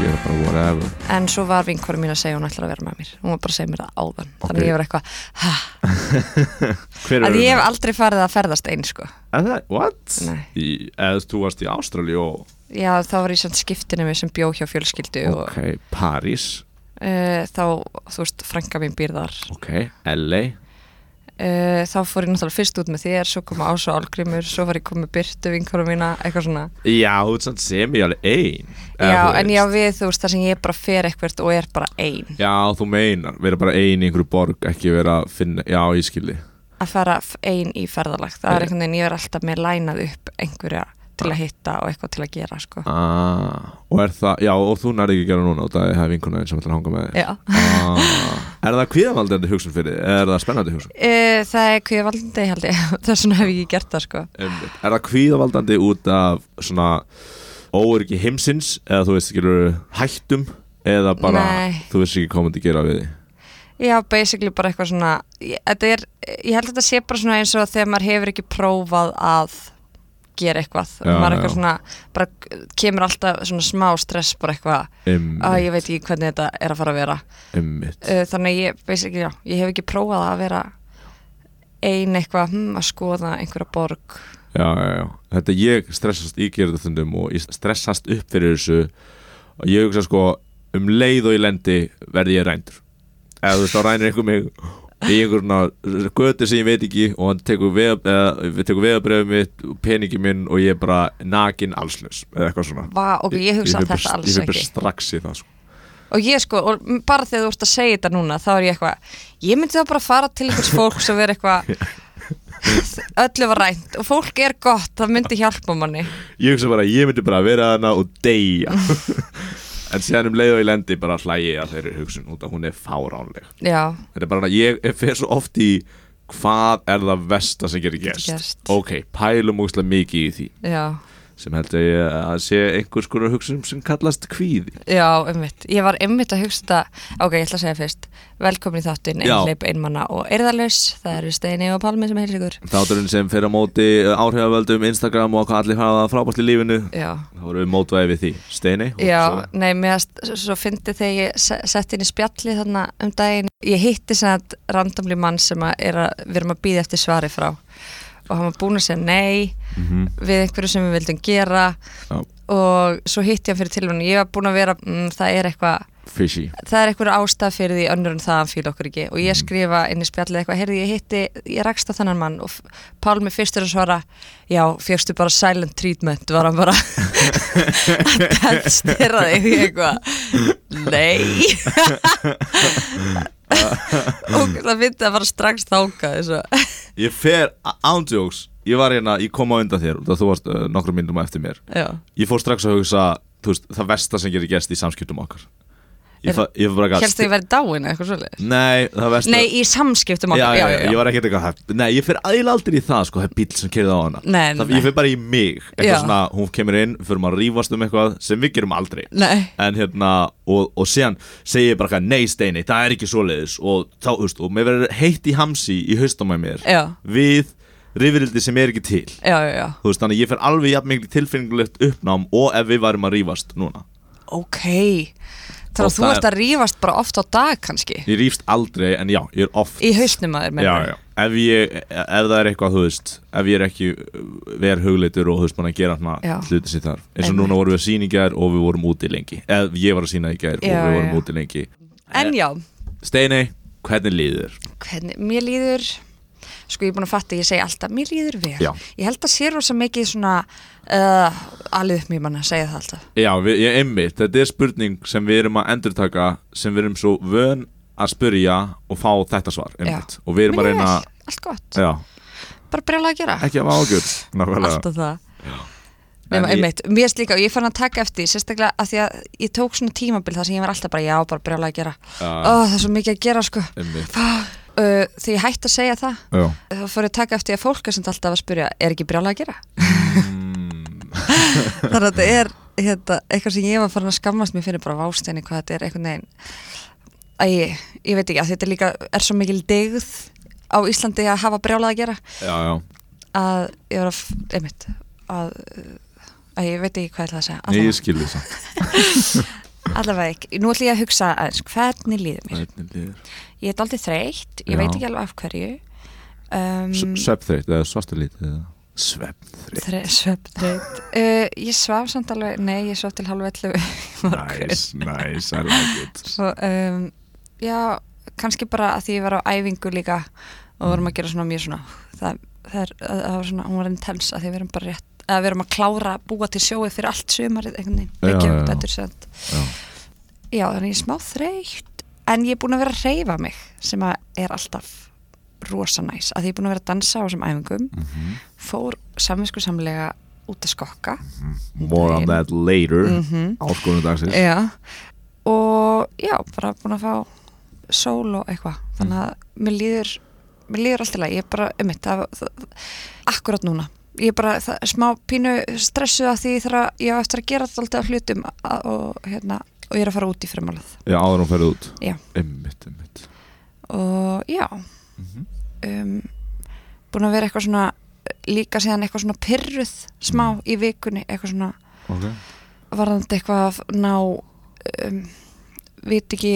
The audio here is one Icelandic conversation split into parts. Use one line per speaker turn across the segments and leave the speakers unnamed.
eða ef þú-
En svo var vinkonum mín að segja að hún ætlar að vera með mér Hún var bara að segja mér það áðan Þannig
Ok.
ég var eitthvað "Ha."
Hver
Að
eru
ég
þau?
hef aldrei farið að ferðast einn sko
Er það, what?
Nei.
Í, eða þú varst í Ástrali og
Já, þá var ég sem skiptinu mér sem bjó hjá fjölskyldu
ok, París,
og uh, þá, þú veist, frænka mín býr þar
ok, LA
uh, Þá fór ég náttúrulega fyrst út með þér Svo kom Ás og Álgrimur, svo var ég komið Byrtu vinkonum mína, eitthvað svona
Já, þú ert samt sem ég alveg ein eða
Já,
þú
en
veist.
já við, þú veist, þar sem ég bara fer eitthvert og er bara ein
Já, þú meinar, vera bara ein í einhverju borg, ekki vera að finna, já, ég skildi
Að fara f- ein í ferðalag Það
Já.
er einhvern veginn, ég er alltaf með lænað upp einhverja til að hitta og eitthvað til að gera sko.
ah, Og er það, já, og þú nærði ekki að gera núna og það er vinkona einn sem ætlar að hanga með þér
Já
ah, Er það kvíðamaldandi hugsun fyrir, þig? er það spennandi hugsun?
Uh, það er kvíðavaldandi held ég, þess vegna hef ég ekki gert það sko.
Einmitt. Er það kvíðavaldandi út af svona óöryggi heimsins eða þú veist ekki hættum eða bara
Nei.
þú veist ekki hvað myndi gera við því
Já, basically bara eitthvað svona, ég, þetta er, ég held að þetta sé bara svona eins og þegar maður hefur ekki prófað að gera eitthvað
Já,
og maður eitthvað
já.
svona, bara kemur alltaf svona smá stress bara eitthvað, að
Einmitt,
ég veit ekki hvernig þetta er að fara að vera.
einmitt.
Uh, þannig að ég, basically, já, ég hef ekki prófað að vera ein eitthvað, hm, að skoða einhverja borg.
Já, já, já. Þetta ég stressast, ég gerir þetta þundum og ég stressast upp fyrir þessu og ég hugsa sko um leið og ég lendi verði ég rændur eða þú veist þá rænir einhver mig í einhverjuna göti sem ég veit ekki og hann tekur, vegab, eða, tekur vegabrefið mitt peningi minn og ég er bara nakin allslaus eða eitthvað svona
Vá, ok, ég hugsa
fer bara-
þetta alls
Ég fyrir
ekki.
bara strax í það sko.
Og ég sko, og m- bara þegar þú ert að segja þetta núna þá er ég eitthvað, ég myndi þá bara fara til einhvers fólk sem er eitthvað öllu var rænt og fólk er gott, það myndi hjálpa manni
Ég hugsa bara, ég myndi bara vera þarna og deyja En síðan um leið og ég lendi bara hlægi að þeirri hugsun út að hún er fáránleg
Já,
Þetta er bara, ég ég fer svo oft í hvað er það versta sem getur gerst
gerst.
Ok, pælum úkslega mikið í því
já,
sem heldur ég að sé einhvers konar hugsun sem kallast kvíði
já, einmitt Ég var einmitt að hugsa þetta ok, ég ætla að segja fyrst, velkomin í þáttinn
Já.
einhleip einmanna og erðalaus það eru Steini og Palmi sem heilir ykkur
Þátturinn sem fer á móti eh, áhrifavöldum Instagram og hvað allir hafa það frábært í lífinu
Já,
þá voru við mótvæði við því Steini og
já,
svo-
nei, mér að svo fyndi þegar ég se- setti inn í spjalli þarna um daginn, ég hitti sem að randomli mann sem að, er að við erum að býða eftir svari frá og hann var búin að segja nei
Mhm,
við einhverju sem við vildum gera
já,
og svo hitti ég hann fyrir tilvæmni ég var búin að vera, mm, það er eitthvað
Fishy
það er einhver ástæð fyrir því önnur en það að hann fíla okkur ekki og ég
Mm.
skrifa inn í spjallið eitthvað heyrði ég hitti, ég rakst á þennan mann og f- Pálmi fyrstur að svara já, fjöxtu bara silent treatment var hann bara að styrra þig í eitthvað nei og það myndi að fara strax þáka þessu
Ég fer ándjóks Ég var hérna, ég kom á undan þér og þú varst uh, nokkrum myndum á eftir mér
já,
Ég fór strax að hugsa, þú veist, það versta sem gerir gerst í samskiptum okkar Ég,
Er-
fa, ég var bara að
helstu ég verið dáin eða eitthvað svolítið
Nei, það versta
nei, í samskiptum
já,
okkar,
já, já, ég var ekkert eitthvað hægt Nei, ég fer aðil aldrei í það, sko, það er bíl sem kerði á hana
Nei,
það,
nei.
Ég fer bara í mig, eitthvað
Já.
svona, hún kemur inn, fyrir maður að rífast um eitthvað sem við gerum aldrei
nei
en hérna og, og síðan segi ég bara eitthvað nei Steini, það er ekki svoleiðis og þá, þú veist, og mér verður heitt í hamsi í haustum að mér
Já.
við rifrildi sem er ekki til
já, já, já,
þú veist, þannig að ég fer alveg jafn mikið tilfinningulegt uppnám og ef við varum að rífast núna
ok þannig
Og
að þú
það
ert að rífast bara oft á dag kannski
ég rífst aldrei, en já, ég er oft
í hausnum að þér
já,
meina
já. Ef, ég, ef það er eitthvað, þú veist ef ég er ekki uh, ver hugleitur og þú veist, mann að gera hana
Já.
hluti sér þar eins og
Einmitt.
núna vorum við að sýna í gær og við vorum úti lengi eða ég var að sýna í gær og
Já,
við vorum
já.
úti lengi
en já,
Steini, hvernig líður?
hvernig, mér líður sko ég er búin að fatta, ég segi alltaf mér líður vel,
Já.
ég held að sé rosa mikið svona uh, alveg upp mér manna að segja það alltaf
Já, við, ég einmitt, þetta er spurning sem við erum að endurtaka sem við erum svo vön að spyrja og fá þetta svar einmitt. og við erum að
Mér
reyna
vel, allt gott,
já,
bara brjálega að gera
ekki að hafa ágjur nákvæmlega
alltaf það
En
Nefna,
ég-
einmitt, mér erst líka og ég fann að taka eftir því, sérstaklega að því að ég tók svona tímabil þar sem ég var alltaf bara já, bara brjálega að gera
Já.
Ó, það er svo mikið að gera sko
einmitt
uh, því ég hætti að segja það
já.
þá fór ég að taka eftir því að fólk er sem alltaf að spyrja er ekki brjálega að gera
Mm,
þannig að þetta er hérna, eitthvað sem ég var farin að skammast mér fyrir bara vásteini hvað þetta er einhvern veginn Æ, ég, veit ekki að þetta er líka er svo mikil degð á Íslandi að hafa brjálað að gera
já, já,
að ég var að, f- einmitt að, að ég veit ekki hvað ég ætla að
Nei,
segja
ég
Allavega.
skil því samt
allavega ekki, nú ætlum ég að hugsa aðeins hvernig líður mér,
Hvernig líður?
ég er aldrei þreytt ég
Já.
veit ekki alveg af hverju um,
Svefnþreytt eða svastalít eða Svefnþreytt
Svepnreitt uh, Ég svaf samt alveg, nei ég svaf til halv 11 í morgun.
Nice, nice, I like it
Svo, um, Já, kannski bara að því ég var á æfingu líka og vorum að gera svona mjög svona það, það, er, það það var svona, hún var intens að því við erum bara rétt að við erum að klára að búa til sjóið fyrir allt sumarið einhvern veginn,
Já,
ekki um
já, já.
dættur sent
Já,
Já, þannig ég er smá þreytt en ég er búin að vera að reyfa mig sem að er alltaf rosa næs að því ég er búin að vera að dansa á þessum æfingum
Mhm.
fór samvinsku samlega út að skokka
More on that later mm -hmm. Áskonum dagsins
Mhm. Já, og já, bara búin að fá sól og eitthvað þannig að mér líður mér líður allt í lagi, ég er bara um mitt akkurat núna ég er bara það, smá pínu stressuð að því ég þarf að, ég á eftir að gera alltaf hlutum að, og hérna, og ég er að fara út í fremálað
Já, áður hún ferði út
Já.
Einmitt, einmitt
og já
Mhm.
um, búin að vera eitthvað svona líka síðan eitthvað svona pyrruð smá í vikunni, eitthvað svona
Ok
varðandi eitthvað að ná um, veit ekki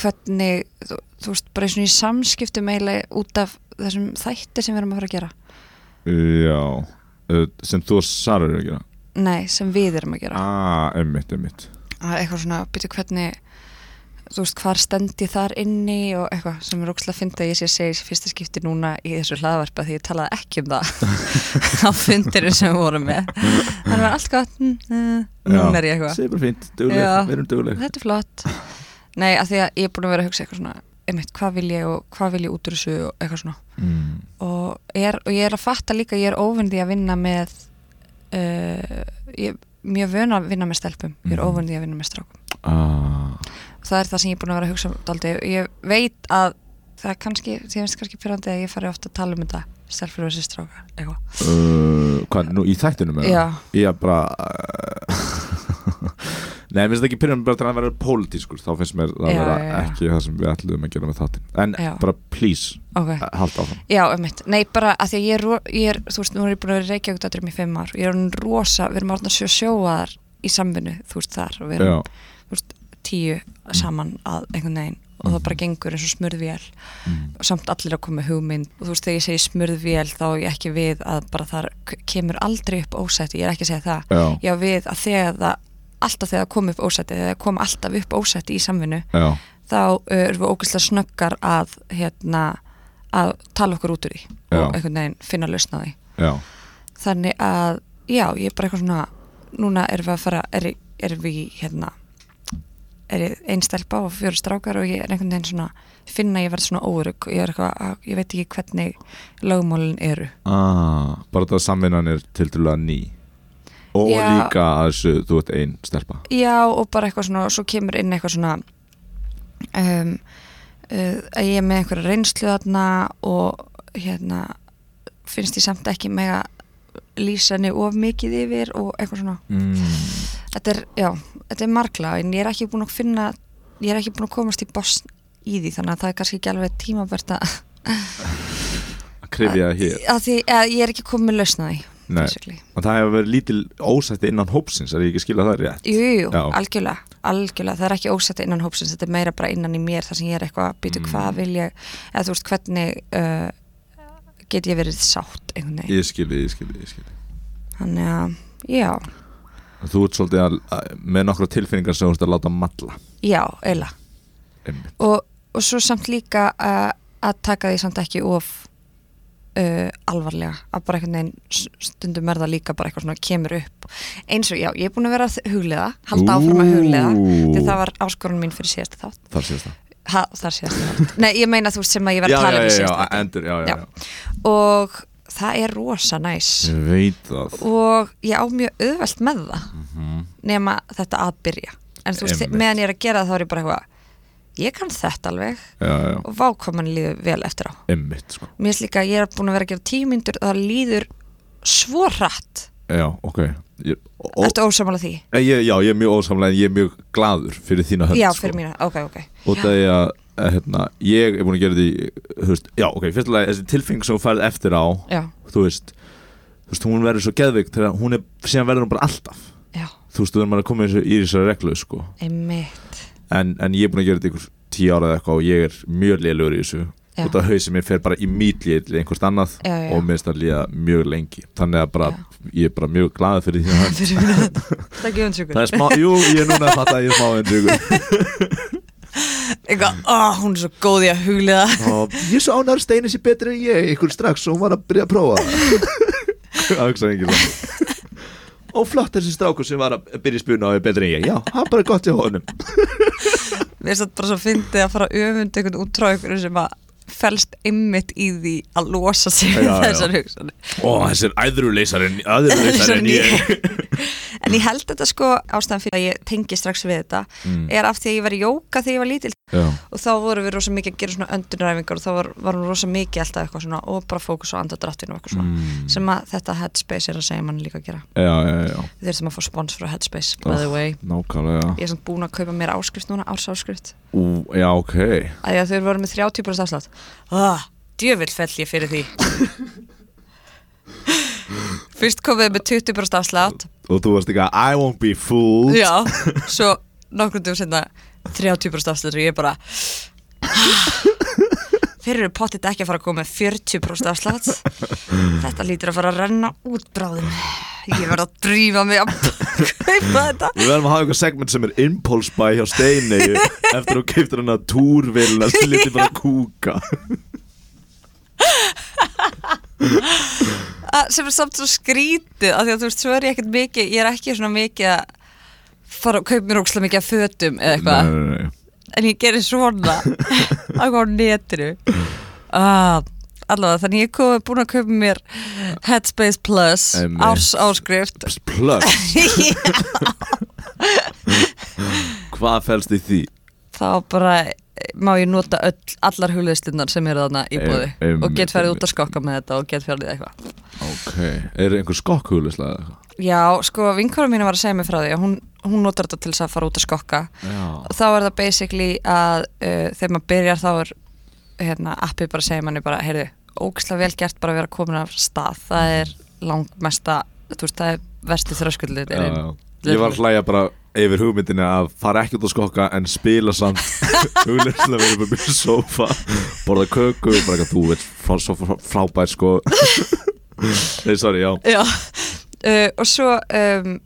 hvernig þú, þú veist bara í svona í samskiptum eiginlega út af þessum þætti sem við erum að fara að gera
Já uh, Sem þú og Sara eru að gera
nei, sem við erum að gera
Ah, einmitt, einmitt
að eitthvað svona, byrju hvernig þú veist, hvar stend ég þar inni og eitthvað sem er ógstlega að finna að ég sé að segja í fyrsta skipti núna í þessu hlaðvarpa því ég talaði ekki um það á fundirinn sem við vorum með þannig var allt gott mm, mm, núna er ég eitthvað
Segir bara fínt, dugleg,
Já.
við erum dugleg
þetta er flott nei, að því að ég er búin að vera að hugsa eitthvað svona einmitt, hvað vil ég og hvað vil ég út úr þessu og eitthvað svona
mm.
og, er, og ég er að fatta líka, ég er óvinn því að vinna með uh, ég er mjög vön að vinna með stelpum ég er
Mhm.
óvinn því að vinna með strákum
ah.
það er það sem ég er búin að vera að hugsa um daldi. ég veit að það er kannski því finnst kannski pyrrandi að ég fari ofta að tala um þetta stelpur og þessi stráka eitthvað
uh, Hvað, nú í þættinum eða?
já,
Ég bara uh, Nei, mér finnst ekki pyrrjum bara til að vera pólitískur þá finnst mér að
Já,
vera
já, já.
ekki það sem við ætlum að gera með þáttin En
Já.
bara please,
ok
halda áfram
Já, einmitt. Nei, bara að því að ég er, ro- ég er þú veist, nú er ég búin að vera reykja út að drömmi í fimm ár og ég er hann rosa, við erum orðin að sjó sjóaðar í samvinnu, þú veist, þar og við erum
Já,
tíu saman að einhvern veginn og
Mhm.
það bara gengur eins og smurðvél
Mm.
og samt allir að koma með hugmynd og þú veist, þegar ég segi smurðvél þá er ég ekki við að bara þar k- kemur aldrei upp ósætti, ég er ekki að segja það
já,
ég á við að þegar það alltaf þegar það kom upp ósætti, þegar það kom alltaf upp ósætti í samvinnu,
já
þá uh, erum við ógeðslega snöggar að hérna, að tala okkur út úr því
Já.
og einhvern veginn finna að lausna á því
Já,
þannig að, já, ég er bara eitthvað svona núna erum við að fara er, er við í, hérna er ég ein stelpa og fjóri strákar og ég er einhvern veginn svona, finna að ég verð svona óurug ég er eitthvað, að, ég veit ekki hvernig lögmálin eru
ah, bara þetta að samvinnan er tildulega ný Og
Já.
líka að þessu, þú ert ein stelpa
Já og bara eitthvað svona og svo kemur inn eitthvað svona um, uh, að ég er með einhverja reynslu þarna og hérna finnst ég samt ekki með að lýsa henni of mikið yfir og eitthvað svona
mm.
þetta er, já, þetta er margla en ég er ekki búin að finna ég er ekki búin að komast í boss í því þannig að það er kannski ekki alveg tímabært að,
Að krifja það hér
að því að ég er ekki komin með lausna því
Nei,
basically.
og það hefur verið lítil ósætti innan hópsins Er ég ekki að skila það rétt?
Jú, jú, jú,
Já.
algjörlega, algjörlega það er ekki ósætti innan hópsins, þetta er meira bara innan í mér þar sem ég er eitthvað að býta
Mm.
hvað vil ég eða þú veist hvernig uh, get ég verið sátt einhvern veginn,
Ég skili, ég skili, ég skili
þannig að já,
Þú ert svolítið að, að, með nokkra tilfinningar sem þú ert að láta matla
já, eiginlega
Einmitt.
og, og svo samt líka að, að taka því samt ekki of uh, alvarlega að bara einhvern veginn s- stundum er það líka bara eitthvað svona kemur upp eins og já, ég er búin að vera að huglega halda áfram að huglega því það var áskorun mín fyrir síðasta þátt
Þar sést það
ha, þar síðasta þátt, nei ég meina þú veist sem að ég var að tala um í
já,
síðasta þátt
endur, já, já,
Já.
já
og það er rosa næs
Ég veit það
og ég á mjög auðvelt með það nema þetta að byrja en þú veist,
Mhm. Einmitt.
meðan ég er að gera það þá er ég bara eitthvað ég kann þetta alveg
Já, já,
og vákoman líður vel eftir á
einmitt sko
mér finnst líka að ég er búin að vera að gera tíu myndur og það líður svo hratt
Já, ok ég, ó,
Ertu ósamála því?
ég, Já, ég er mjög ósamlega en ég er mjög gladur fyrir þína hönd
Já,
sko.
fyrir mína, ok, ok
Og það er að, að, hérna, ég er búin að gera því þú veist, Já, ok, fyrstulega þessi tilfinning sem þú færð eftir á
Já,
Þú veist, þú veist hún verður svo geðveikt þegar hún er, síðan verður hún bara alltaf
já,
þú veist, þú verður maður að koma í þessu- í þessari reglu sko.
einmitt
en, en ég er búin að gera þetta ykkur tíu ára eða eitthvað og ég er mjög lélugur í þessu
Já.
út af hausin mér fer bara í mítli til einhvert annað
Já, já.
og mér finnst það líða mjög lengi þannig að bara,
Já.
ég er bara mjög glaðið fyrir því að
fyrir mér það gefum
það
sjökur
er smá, jú, ég er núna að fatta að ég er smá endur
eitthvað, ó, hún er svo góð í að hugliða
og ég er svo ánar steinu sér betri en ég ykkur strax og hún var að byrja að prófa það hugsaði enginn um. svona og flott þessi strákur sem var að byrja að spuna og er betri en ég, já, hann bara gott í honum
mér er það bara svo fyndið að fara að öfunda einhvern út frá einhverju sem að felst einmitt í því að losa sig
Já,
já,
já.
þessar hugsanir
og þessi er æðruleysarinn æðruleysarinn ég
en ég held þetta sko ástæðan fyrir að ég tengi strax við þetta er af því að ég var í jóka þegar ég var lítil
Mm. já
og þá vorum við rosa mikið að gera svona öndunaræfingar og þá var, var hún rosa mikið alltaf eitthvað svona og bara fókus á andadráttinu og eitthvað svona
Mm.
sem að þetta headspace er að segja manni líka að gera
já, já, já,
við þurfum að fá spons frá headspace by the way
nákvæmlega
ég er svona búin að kaupa mér áskrift núna ársáskrift
Ú, já, ok
að því að þau voru með 30% afslátt ah, djövill fell ég fyrir því fyrst komum við með 20% afslátt
og þú varst ekki að I won't be fooled
já, svo nokkrum dugum setna 30% afslátt og ég bara ah, þeir eru pottit ekki að fara að koma með 40% afslátt þetta lítur að fara að renna út bráðum ég verð að drífa mig að kaupa þetta
Við verðum að hafa eitthvað segment sem er impulse buy hjá Steini eftir að þú keiptir hann að túrvilna sem lítið bara kúka
að, sem er samt svo skrítið af því að þú veist, svo er ég ekkert mikið ég er ekki svona mikið að fara og kaupa mér ókslega mikið af fötum eða eitthvað,
nei, nei, nei.
en ég gerir svona að á netinu ah, allavega, þannig ég kom búin að kaupa mér Headspace Plus
Einmitt.
árs áskrift
Pss, Plus, hvað felst í því?
þá bara má ég nota öll, allar hugleðslinnar sem eru þarna í
Ein-
bóði og
einmitt,
get farið út
einmitt.
að skokka með þetta og get farið eitthvað
Ok, er einhver skokkhulislega eða eitthvað?
Já, sko, vinkvara mín var að segja mig frá því að hún, hún notar þetta til þess að fara út að skokka
Já,
þá er það basically að uh, þegar maður byrjar þá er hérna, appið bara segir manni bara, heyrðu ógislega vel gert bara að vera komin af stað það er langmesta þú veist, það er versti þröskuldið
já, já. Ég var að hlæja bara yfir hugmyndinni að fara ekki út að skokka en spila samt huglislega verið upp í sofa borða köku, bara eitthvað þú veit frá, svo frá, frábær sko Nei, sorry, já
Já, uh, og svo um,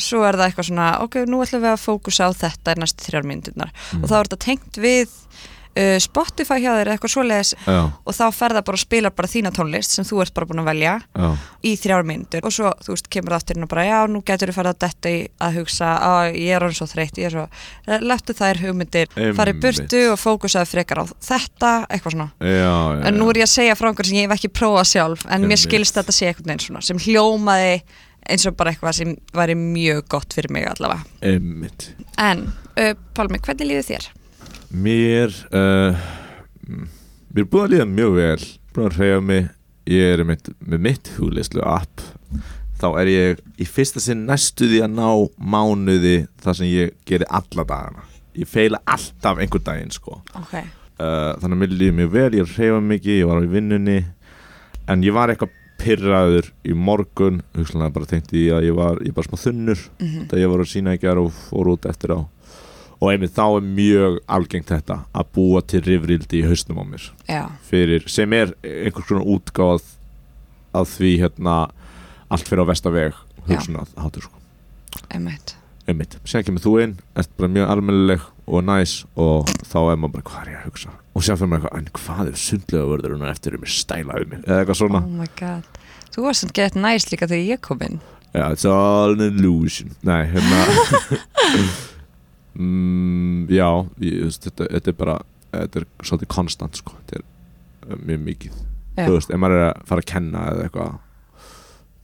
svo er það eitthvað svona ok, nú ætlum við að fókusa á þetta í næstu þrjár myndirnar og
Mm.
þá er þetta tengt við uh, Spotify hjá þér eða eitthvað svoleiðis
Já,
og þá fer það bara og spilar bara þína tónlist sem þú ert bara búin að velja
já,
í þrjár myndur og svo þú veist kemur það aftur inn og bara já nú getur þú farið að detta í að hugsa að ég er hann svo þreytt ég er svo lættu þær hugmyndir farið burtu og fókusaði frekar á þetta eitthvað svona
já, já
en nú er ég að segja frá einhverjum sem ég hef ekki prófað sjálf en mér
Einmitt.
skilst þetta sé eitthvað eins svona sem hljómaði eins og bara eitthvað sem væri mjög gott fyrir mig allavega
Einmitt.
en uh, Pálmi hvernig líður þér?
Mér uh, mm, Mér er búin að líða mjög vel Búin að hreyfa mig Ég er mitt, með mitt hugleyslu app Þá er ég í fyrsta sinn næstu því að ná mánuði þar sem ég geri alla dagana Ég feila alltaf einhver daginn sko
ok,
uh, Þannig að mér líður mjög vel Ég hreyfa mikið, ég var á í vinnunni En ég var eitthvað pyrraður í morgun Hugsanlega bara tenkti ég að ég var Ég er bara smá þunnur
mm
þetta ég var að sína í gær og fór út eftir á og einmitt þá er mjög algengt þetta að búa til rifrildi í hausnum á mér
já,
fyrir, sem er einhvers konar útgáð að því hérna allt fyrir á vestaveg
Já.
hugsun að hátur sko
einmitt
einmitt, sér kemur þú inn, ert bara mjög almennileg og næs og þá er maður bara hvað er ég að hugsa og sér fyrir maður eitthvað, en hvað er sundlega verður hún eftir um mér stæla um mér eða eitthvað svona
oh my god þú varst svona gett næst líka þegar ég kom inn
Já, it's all an illusion Nei, hérna mm, Já, ég, þú veist, þetta, þetta er bara Þetta er svolítið konstant sko. Þetta er uh, mjög mikið
Já.
Þú veist, ef maður er að fara að kenna eða eitthvað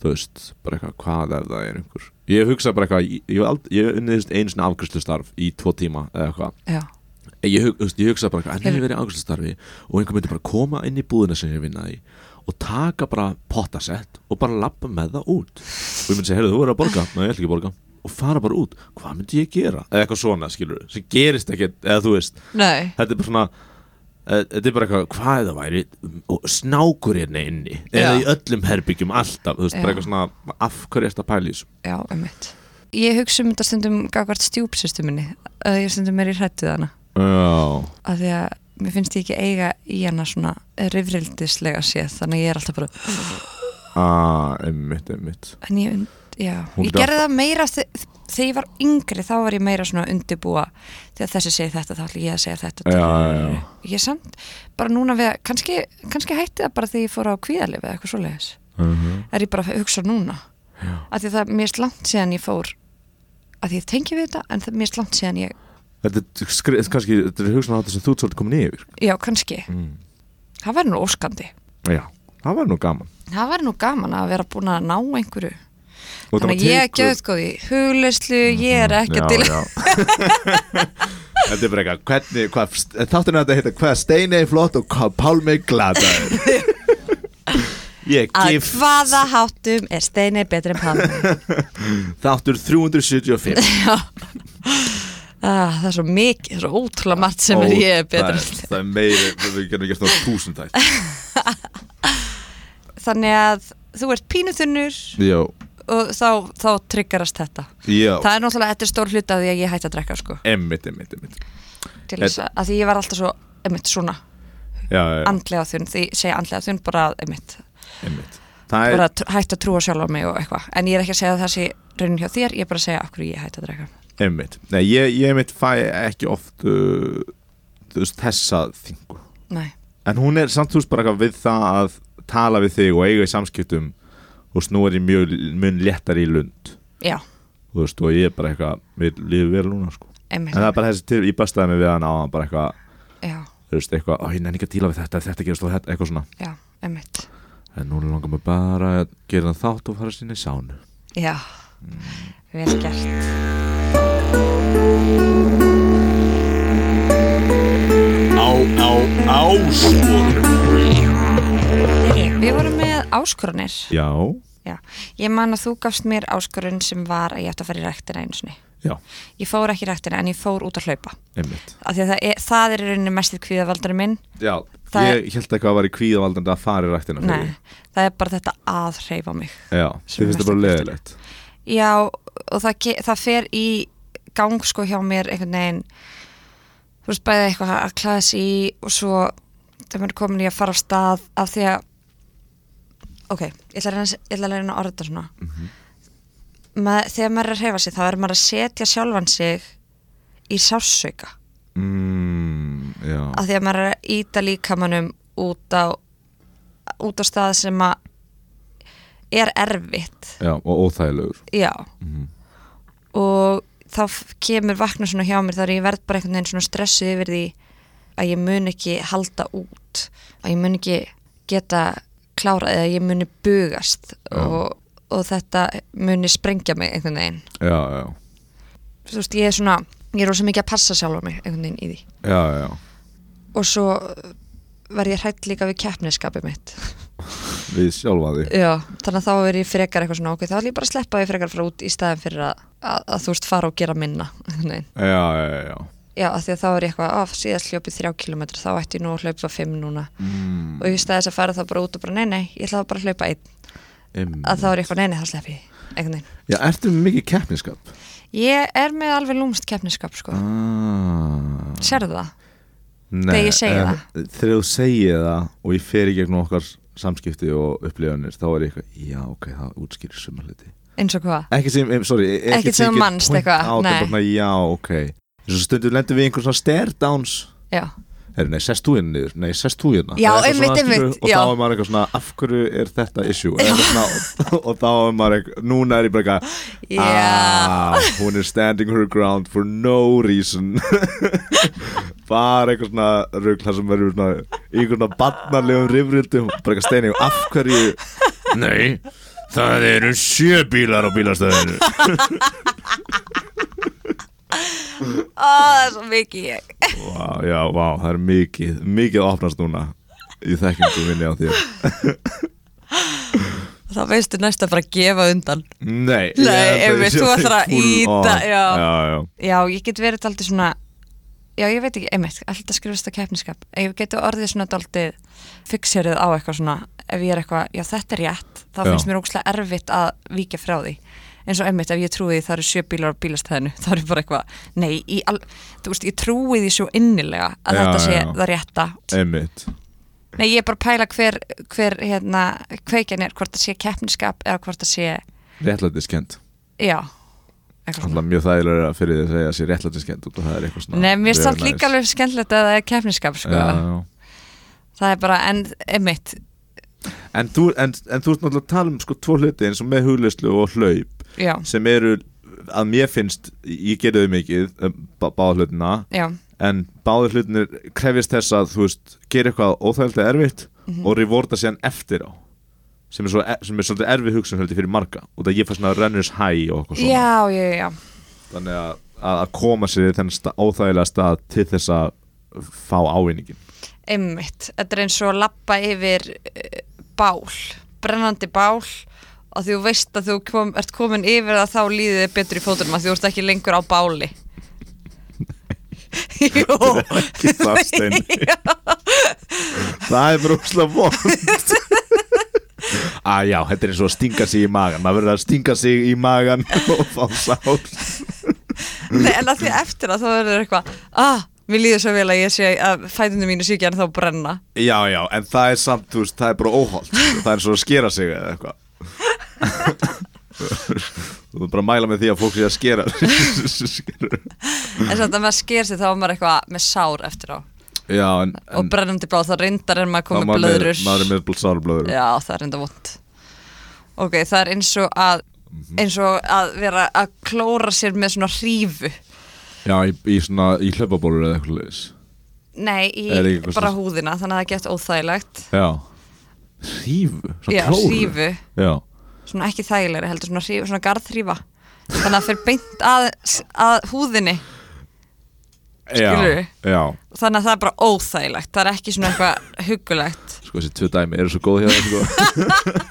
Þú veist, bara eitthvað Hvað er það er einhver Ég hugsa bara eitthvað, ég, ég, hef ald- ég hef unnið þú veist, einu svona afgriðslustarf Í tvo tíma eða eitthvað
já,
ég, hug- þú veist, ég hugsa bara eitthvað, en
Hefur-
ég hef verið í ákvæmstastarfi og einhver myndi bara koma inn í búðina sem ég vinnaði í og taka bara pottasett og bara lappa með það út og ég myndi segja, heyrðu, þú verður að borga Nei, ég ætla ekki að borga og fara bara út, hvað myndi ég gera eða eitthvað svona, skilur, sem gerist ekkert eða þú veist,
nei
þetta er bara svona eh, þetta er bara eitthvað, hvað ef það væri og snákur hérna inni eða
Já.
í öllum herbyggjum alltaf, þú veist, bara
Já.
eitthvað svona af hverju ertu að pæla í þessu
já, einmitt Ég hugsa um þetta stundum gagvart stjúpsýstu minni að ég stundum er í hrættuð hana
Já,
að því að mér finnst ég ekki eiga í hana svona rifrildislega séð þannig að ég er alltaf bara
ah, einmitt, einmitt
en ég, und- já,
Hún
ég
getur
gerði það meira þe- þegar ég var yngri þá var ég meira svona að undirbúa þegar þessi segir þetta þá ætlum ég að segja þetta
Já, já, já.
ég samt bara núna við að kannski, kannski hætti það bara þegar ég fór á kvíðalif eða eitthvað svoleiðis
uh
er ég bara að hugsa núna
Já.
að því það mér er langt síðan ég fór að því ég tengi við þetta en það mér er langt síðan ég
Þetta er skri, kannski, þetta er hugsanáttur sem þú ert svolítið komin yfir
já kannski,
mm.
það verður nú óskandi
Já, það var nú gaman
það verður nú gaman að vera búin að ná einhverju
Og
þannig að ég er göðgóð í hugleyslu ég er ekki til
Þetta er bara eitthvað, hvernig, hvað, þátturinn að þetta heita hvað Steini er flott og hvað Pálmi er glataður Ég
að
gif
hvaða háttum er steinir betri en palmi
þáttur 375
ah, það er svo mikið, það er svo ótrúlega margt sem er ég
það
er betri
er,
en
það er meiri, við getum gert náttúrulega túsundætt
þannig að þú ert pínuþunnur
Já,
og þá, þá tryggarast þetta
já,
það er náttúrulega, þetta er stór hluti af því að ég hætti að drekka sko,
emmitt, emmitt, emmitt
til þess að, að því ég var alltaf svo einmitt svona,
Já, já,
andlega þunn því ég segja andlega þunn bara að, einmitt
emmitt Það er,
bara tr- hætti að trúa sjálf á mig og eitthvað en ég er ekki að segja að það sé raunin hjá þér ég er bara að segja af hverju ég hætti að drekka
emmitt Nei, ég, ég emmitt fæ ekki oft uh, þú veist, þessa þingu
Nei.
en hún er samt þú veist bara eitthvað við það að tala við þig og eiga í samskiptum og nú er ég mjög mun léttar í lund
já,
þú veist, og ég er bara eitthvað við lífum vel núna sko. en
einmitt
það er bara þessi til, ég bastaði mig við hann á hann bara eitthvað,
já,
þú veist, eitthvað, ó, ég nenni ekki að díla við þetta þetta gerist og þetta, eitthvað svona
já, einmitt
en núna langar mig bara að gera það þátt og fara sinni í sánu
Já, vel gert
á, á, á, skorum
Við vorum með áskoranir
já,
Já. Ég man að þú gafst mér áskorun sem var að ég ætti að fara í ræktina einu sinni
já,
Ég fór ekki í ræktina en ég fór út að hlaupa
einmitt
Af því að það er, það er í rauninni mestið kvíðavaldurinn minn
já,
Það er-
ég held eitthvað að var í kvíðavaldandi að fara í ræktina fyrir
Nei, það er bara þetta að hreyfa mig
já,
Sem
þið finnst
mest
það bara
að kvarta.
leðilegt
Já, og það, ge- það fer í gang sko hjá mér einhvern veginn þú veist bæði eitthvað að klæða sig í og svo það mér komin í að fara af stað af því að ok, ég ætla að reyna, ég ætla að, reyna að orða þetta svona Mað, þegar maður er að hreyfa sig þá er maður að setja sjálfan sig í sásauka
mm, já,
af því að maður er að íta líkamanum út á út á stað sem að er erfitt
já, og óþægilegur
já
Mhm.
og þá f- kemur vakna svona hjá mér þar ég verð bara einhvern veginn svona stressuð yfir því að ég mun ekki halda út að ég mun ekki geta klárað eða ég muni bugast og, og þetta muni sprengja mig einhvern veginn
já, já,
þú veist ég er svona ég er rosa mikið að passa sjálfa mig einhvern veginn í því
já, já.
og svo uh, verð ég hrætt líka við keppniskapið mitt
við sjálfa því
Já, þannig að þá er ég frekar eitthvað svona ákveð þá ætlum ég bara að sleppa því frekar frá út í staðin fyrir að, að, að þú veist fara og gera minna Nei.
já, já, já
Já, af því að þá er ég eitthvað af síðast hljópið þrjá kilometri þá ætti ég nú að hlaupa fimm núna
mm,
og ég staðis að fara þá bara út og bara nei, nei, ég ætla þá bara að hlaupa einn
em-
að þá er ég eitthvað nei, nei, þá slepp ég því, einhvern veginn
já, ertu með mikið keppniskap
Ég er með alveg lúmst keppniskap sko
Mm. ah,
Sérðu það?
nei,
Þegar ég segi
en
það.
þegar þú segir það og ég fer í gegnum okkar samskipti og upplifanir þá er ég eitthvað, já, ok, það útskýrir suma hluti
Eins og hvað?
ekki sem, em, sorry e-
Ekkert
sem
sem
ég get
manst
point
eitthvað,
out, en
nei.
bara svona, já, ok eins og stundum lendum við í einhvern svona stare downs
Já,
Heru, nei, sest þú hérna niður, nei, sest þú hérna
Já,
Eða eitthvað
einmitt,
svona, skilur,
einmitt,
Og
já.
þá er maður eitthvað svona, af hverju er þetta issue Eða eitthvað svona, og, og þá er maður eitthvað, núna er ég bara eitthvað
Já.
ah, Hún er standing her ground for no reason Bara eitthvað svona rugla sem verður svona Í einhverjum svona barnarlegum rifrildum Bara eitthvað steini, af hverju Nei, það eru sjö bílar á bílastöðinu
Ó, það er svo mikið ég
Vá, já, vá, það er mikið, mikið að opnast núna Í þekkingu minni á þér
Þá veistu næst að bara gefa undan
Nei,
Nei,
ég held að
einmitt,
ég sé
þú
alveg
ætlar að
full
ýta,
on.
já.
já, já.
Já, ég get verið daldið svona Já, ég veit ekki, einmitt, alltaf skrifast á keppniskap Ég geti orðið svona daldið fixerið á eitthvað svona Ef ég er eitthvað, já þetta er rétt Þá
Já.
finnst mér ógslag erfitt að víkja frá því eins og emmitt ef ég trúi því það eru sjö bílar á bílastæðinu þá er ég bara eitthvað, nei í al, þú veist, ég trúi því svo innilega
Já,
að þetta sé
já, já.
það rétta
Einmitt
nei, ég er bara að pæla hver, hver hérna, kveikjan er, hvort það sé keppniskap eða hvort það sé,
Réttlætiskend
já eitthvað svona.
Alltaf mjög þægilega fyrir því að segja að sé réttlætiskend og það er eitthvað svona
Nei, mér stand
very nice.
líka alveg skemmtilegt að það er keppniskap sko.
Já, já.
það er bara, en emmitt
En þú, en, en þú ert náttúrulega að tala um sko tvo hluti eins og með hugleyslu og hlaup
já,
sem eru að mér finnst ég gerði þau mikið um, bá- báða hlutina
já,
en báða hlutinir krefjast þess að þú veist, gera eitthvað óþægilega erfitt og revorda síðan eftir á sem er, svo, e- sem er svolítið erfið hugsun held ég fyrir marga og það ég fæst svona runners high og eitthvað svona
já, já, já
þannig að, að að koma sér í þennan sta, óþægilega stað til þess að fá ávinningin
Einmitt, þetta er eins og að lappa yfir eh, bál, brennandi bál og þú veist að þú kom, ert komin yfir það þá líðið þér betur í fótunum að þú ert ekki lengur á báli Jó
Ekki það, Steini. það er bara úrslega vond að já, þetta er eins og að stinga sig í magan maður verður að stinga sig í magan og fá sár
Nei, en að því eftir að þá verður eitthvað ah, mér líður svo vel að ég sé að fætunum mínu sé ekki en þá brenna
Já, já, en það er samt, þú veist, það er bara óholt sko. Það er svo að skera sig eða eitthvað Þú er bara að mæla með því að fólk sé að skera Skeru.
en samt að maður sker sig þá er maður eitthvað með sár eftir á
Já, en,
og
en
brennandi bál þá reyndar en maður
þá
komið
maður er-
blöðrur
Maður er með bl- sárblöður
Já, það er enda vond Ok, það er eins og að
Mhm.
eins og að vera að klóra sér með svona hrífu
Já, í, í svona, í hlaupabólur eða eitthvað leis
Nei, í
Er ekki eitthvað
bara
svona-
húðina þannig að það gett óþægilegt
Já Hrífu, svona
Já,
klóru
hrífu,
Já,
svona ekki þægilegri heldur svona, hrífu, svona garðhrífa þannig að fyrir beint að, að húðinni Skilurðu?
já, já
þannig að það er bara óþægilegt það er ekki svona eitthvað hugulegt
Sko þessi tvö dæmi eru svo góð hjá það sko.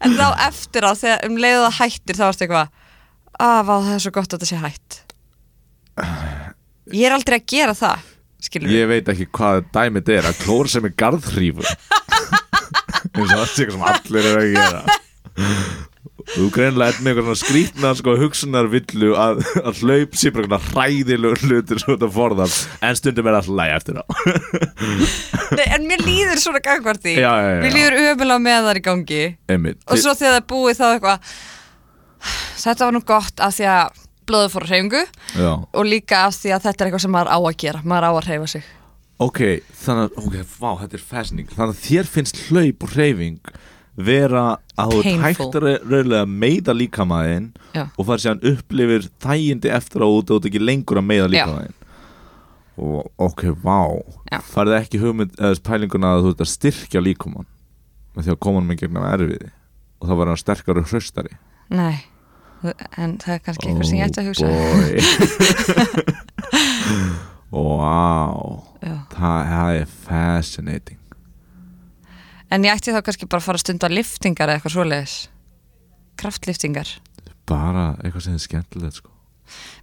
en þá eftir á þegar um leiðu það hættir þá ertu eitthvað að vá það er svo gott að þetta sé hætt ég er aldrei að gera það skilur
Ég veit ekki hvað dæmið er að klóra sem er garðhrífu eins og það sé eitthvað sem allir eru að gera Þú greinlega er með eitthvað svona skrýtna sko, hugsunarvillu að, að hlaup sé bara eitthvað hræðilegur hlutur svo þetta forðan en stundum er alltaf læg eftir á
Nei, en mér líður svona gangvart því
Já, já, já, já.
Mér líður ömulega með það í gangi
Einmitt,
Og svo þegar það er búið þá eitthvað Þetta var nú gott af því að blóðu fór að hreyfingu
já.
Og líka af því að þetta er eitthvað sem maður á að gera Maður á að hreyfa sig
Ok, þannig að, ok, vá, þetta er fæsning Þannig að þér finnst hlaup og hreyfing vera að þú ert
Painful.
hægt að ra- raunlega meita líkamaðin
Já.
og fara síðan upplifir þægindi eftir á út og þú ert ekki lengur að meita
Já.
líkamaðin og ok, vá
Já.
farið ekki hugmynd eða pælinguna að þú ert að styrkja líkamann með því að koma hann með gegnum erfiði og þá var hann sterkari og hraustari Oh
Nei, en það er kannski eitthvað sem ég ætti að hugsa
hugsa Wow
Já.
Það það er fascinating
En ég ætti þá kannski bara að fara að stunda liftingar eða eitthvað svoleiðis Kraftliftingar
bara eitthvað sem er skemmtilegt sko.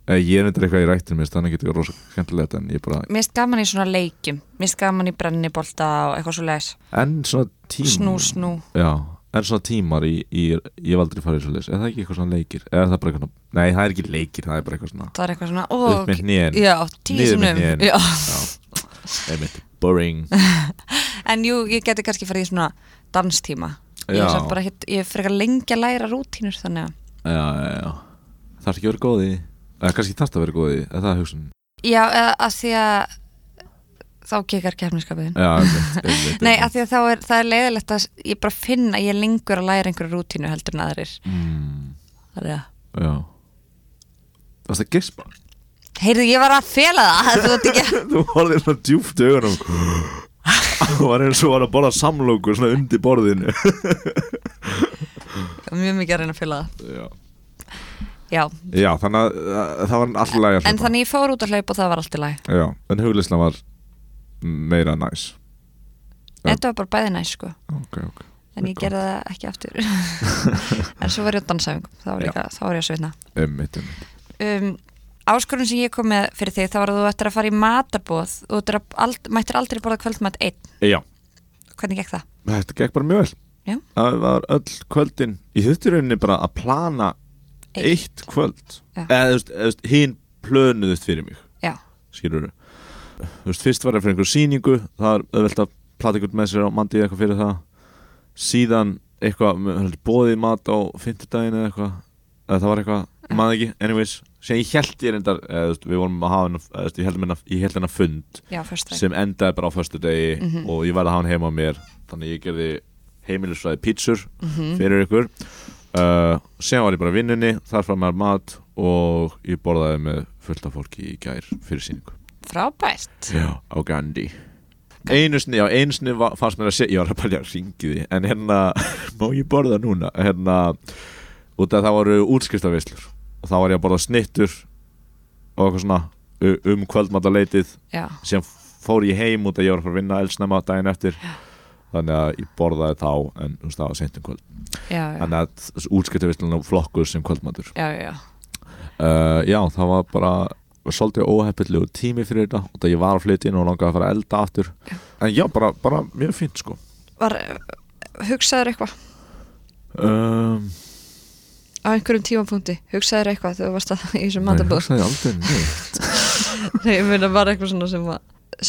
Eh, ég er nefndir eitthvað í rættin mér finnst þannig getur rosa skemmtilegt en ég bara
Mér erst gaman í svona leikjum Mér erst gaman í brennibolta og eitthvað svoleiðis
en svona tímar
Snú, snú
já, en svona tímar í, í, ég hef aldrei farið svo leis er það ekki eitthvað svona leikir er það bara eitthvað nei það er ekki leikir það er bara eitthvað svona
Það er eitthvað svona ó,
upp með
ok.
hnén
Já, tíu
niður með
sinnum
hnén
Já.
einmitt boring
En jú, ég geti kannski farið í svona danstíma Ég
Já.
er samt bara hitt, ég er frekar lengi að læra rútínur þannig að
já, já, já. það er ekki að vera góð í eða kannski þarf það að um? vera góð í eða það er hugsun
Já, eða að því að þá kekar kefniskapiðin
já, einmitt, einmitt,
Nei,
einmitt.
að því að þá er, það er leiðilegt að ég bara finn að ég er lengur að læra einhverju rútínu heldur en aðrir
mm,
Þannig að
já það er það gispa
Heyrðu, ég var að fela það, þú veit ekki
Þú horfðir svona djúft í augunum Þú var eins og var að borða samlóku Svona undir borðinu
Mjög mikið að reyna að fela það
Já,
Já,
þannig að að það var alltaf lægja
en þannig ég fór út að hlaupa og það var allt í lagi
Já, en hugleyslan var meira næs Já.
Þetta var bara bæði næst sko
Ok, ok
En ég gerði það ekki aftur En svo var ég á dansæfingum, þá var,
Já.
líka, þá var ég að svitna
Einmitt, einmitt
um, áskorun sem ég kom með fyrir þig þá var að þú ættir að fara í matabóð og þú ættir að ald, mættir aldrei borða kvöldmat einn
Já,
hvernig gekk það?
þetta gekk bara mjög vel
Já.
Það var öll kvöldin Í þurfti rauninni bara að plana eitt kvöld
Já.
eða þú veist, eða, þú veist, hinn plönuðust fyrir mig
Já.
skilur þú veist, fyrst var ég fyrir einhver sýningu það er auðvelt að plata ykkur með sér á mandi eitthvað fyrir það síðan eitthvað, mér held bóðið mat á fimmtudaginn eða eitthvað eða það var eitthvað, maður ekki, anyways sem ég held ég reyndar, eða, þú veist, við vorum að hafa hennar, eða, þú veist, ég held hennar, ég held hennar fund
já, fyrst
sem endaði bara á föstu degi
Mhm.
og ég verði að hafa hann heima á mér þannig ég gerði heimilisfræði pítsur
Mhm.
fyrir ykkur uh, sem var ég bara í vinnunni, þar fara maður mat og ég borðaði með fullt af fólki í gær fyrir síningu
Frábært
já, á Gandhi einu sinni, já, einu sinni va- fannst mér að segja ég var að bælja að ringi því, en hérna má ég borða núna, hérna út af það voru útskristavislur og þá var ég að borða snittur og eitthvað svona u- um kvöldmataleitið
Já,
sem fór ég heim út að ég var að fara að vinna eldsnæma daginn eftir þannig að ég borðaði þá en þú veist það var seint um kvöld
já, já
þannig að útskiptavistlunum flokkuð sem kvöldmatur
Já, já, já,
uh, já það var bara var svolítið óheppilegu tími fyrir þetta og það ég var að flytja inn og langaði að fara að elda aftur en já bara, bara mjög fínt sko
var eh, hugsaður eitthvað
um,
á einhverjum tímapunkti, hugsaður eitthvað þegar þú varst að í þessum
ég
matabóð
hugsaði aldrei neitt
Nei, ég meina bara eitthvað svona sem að,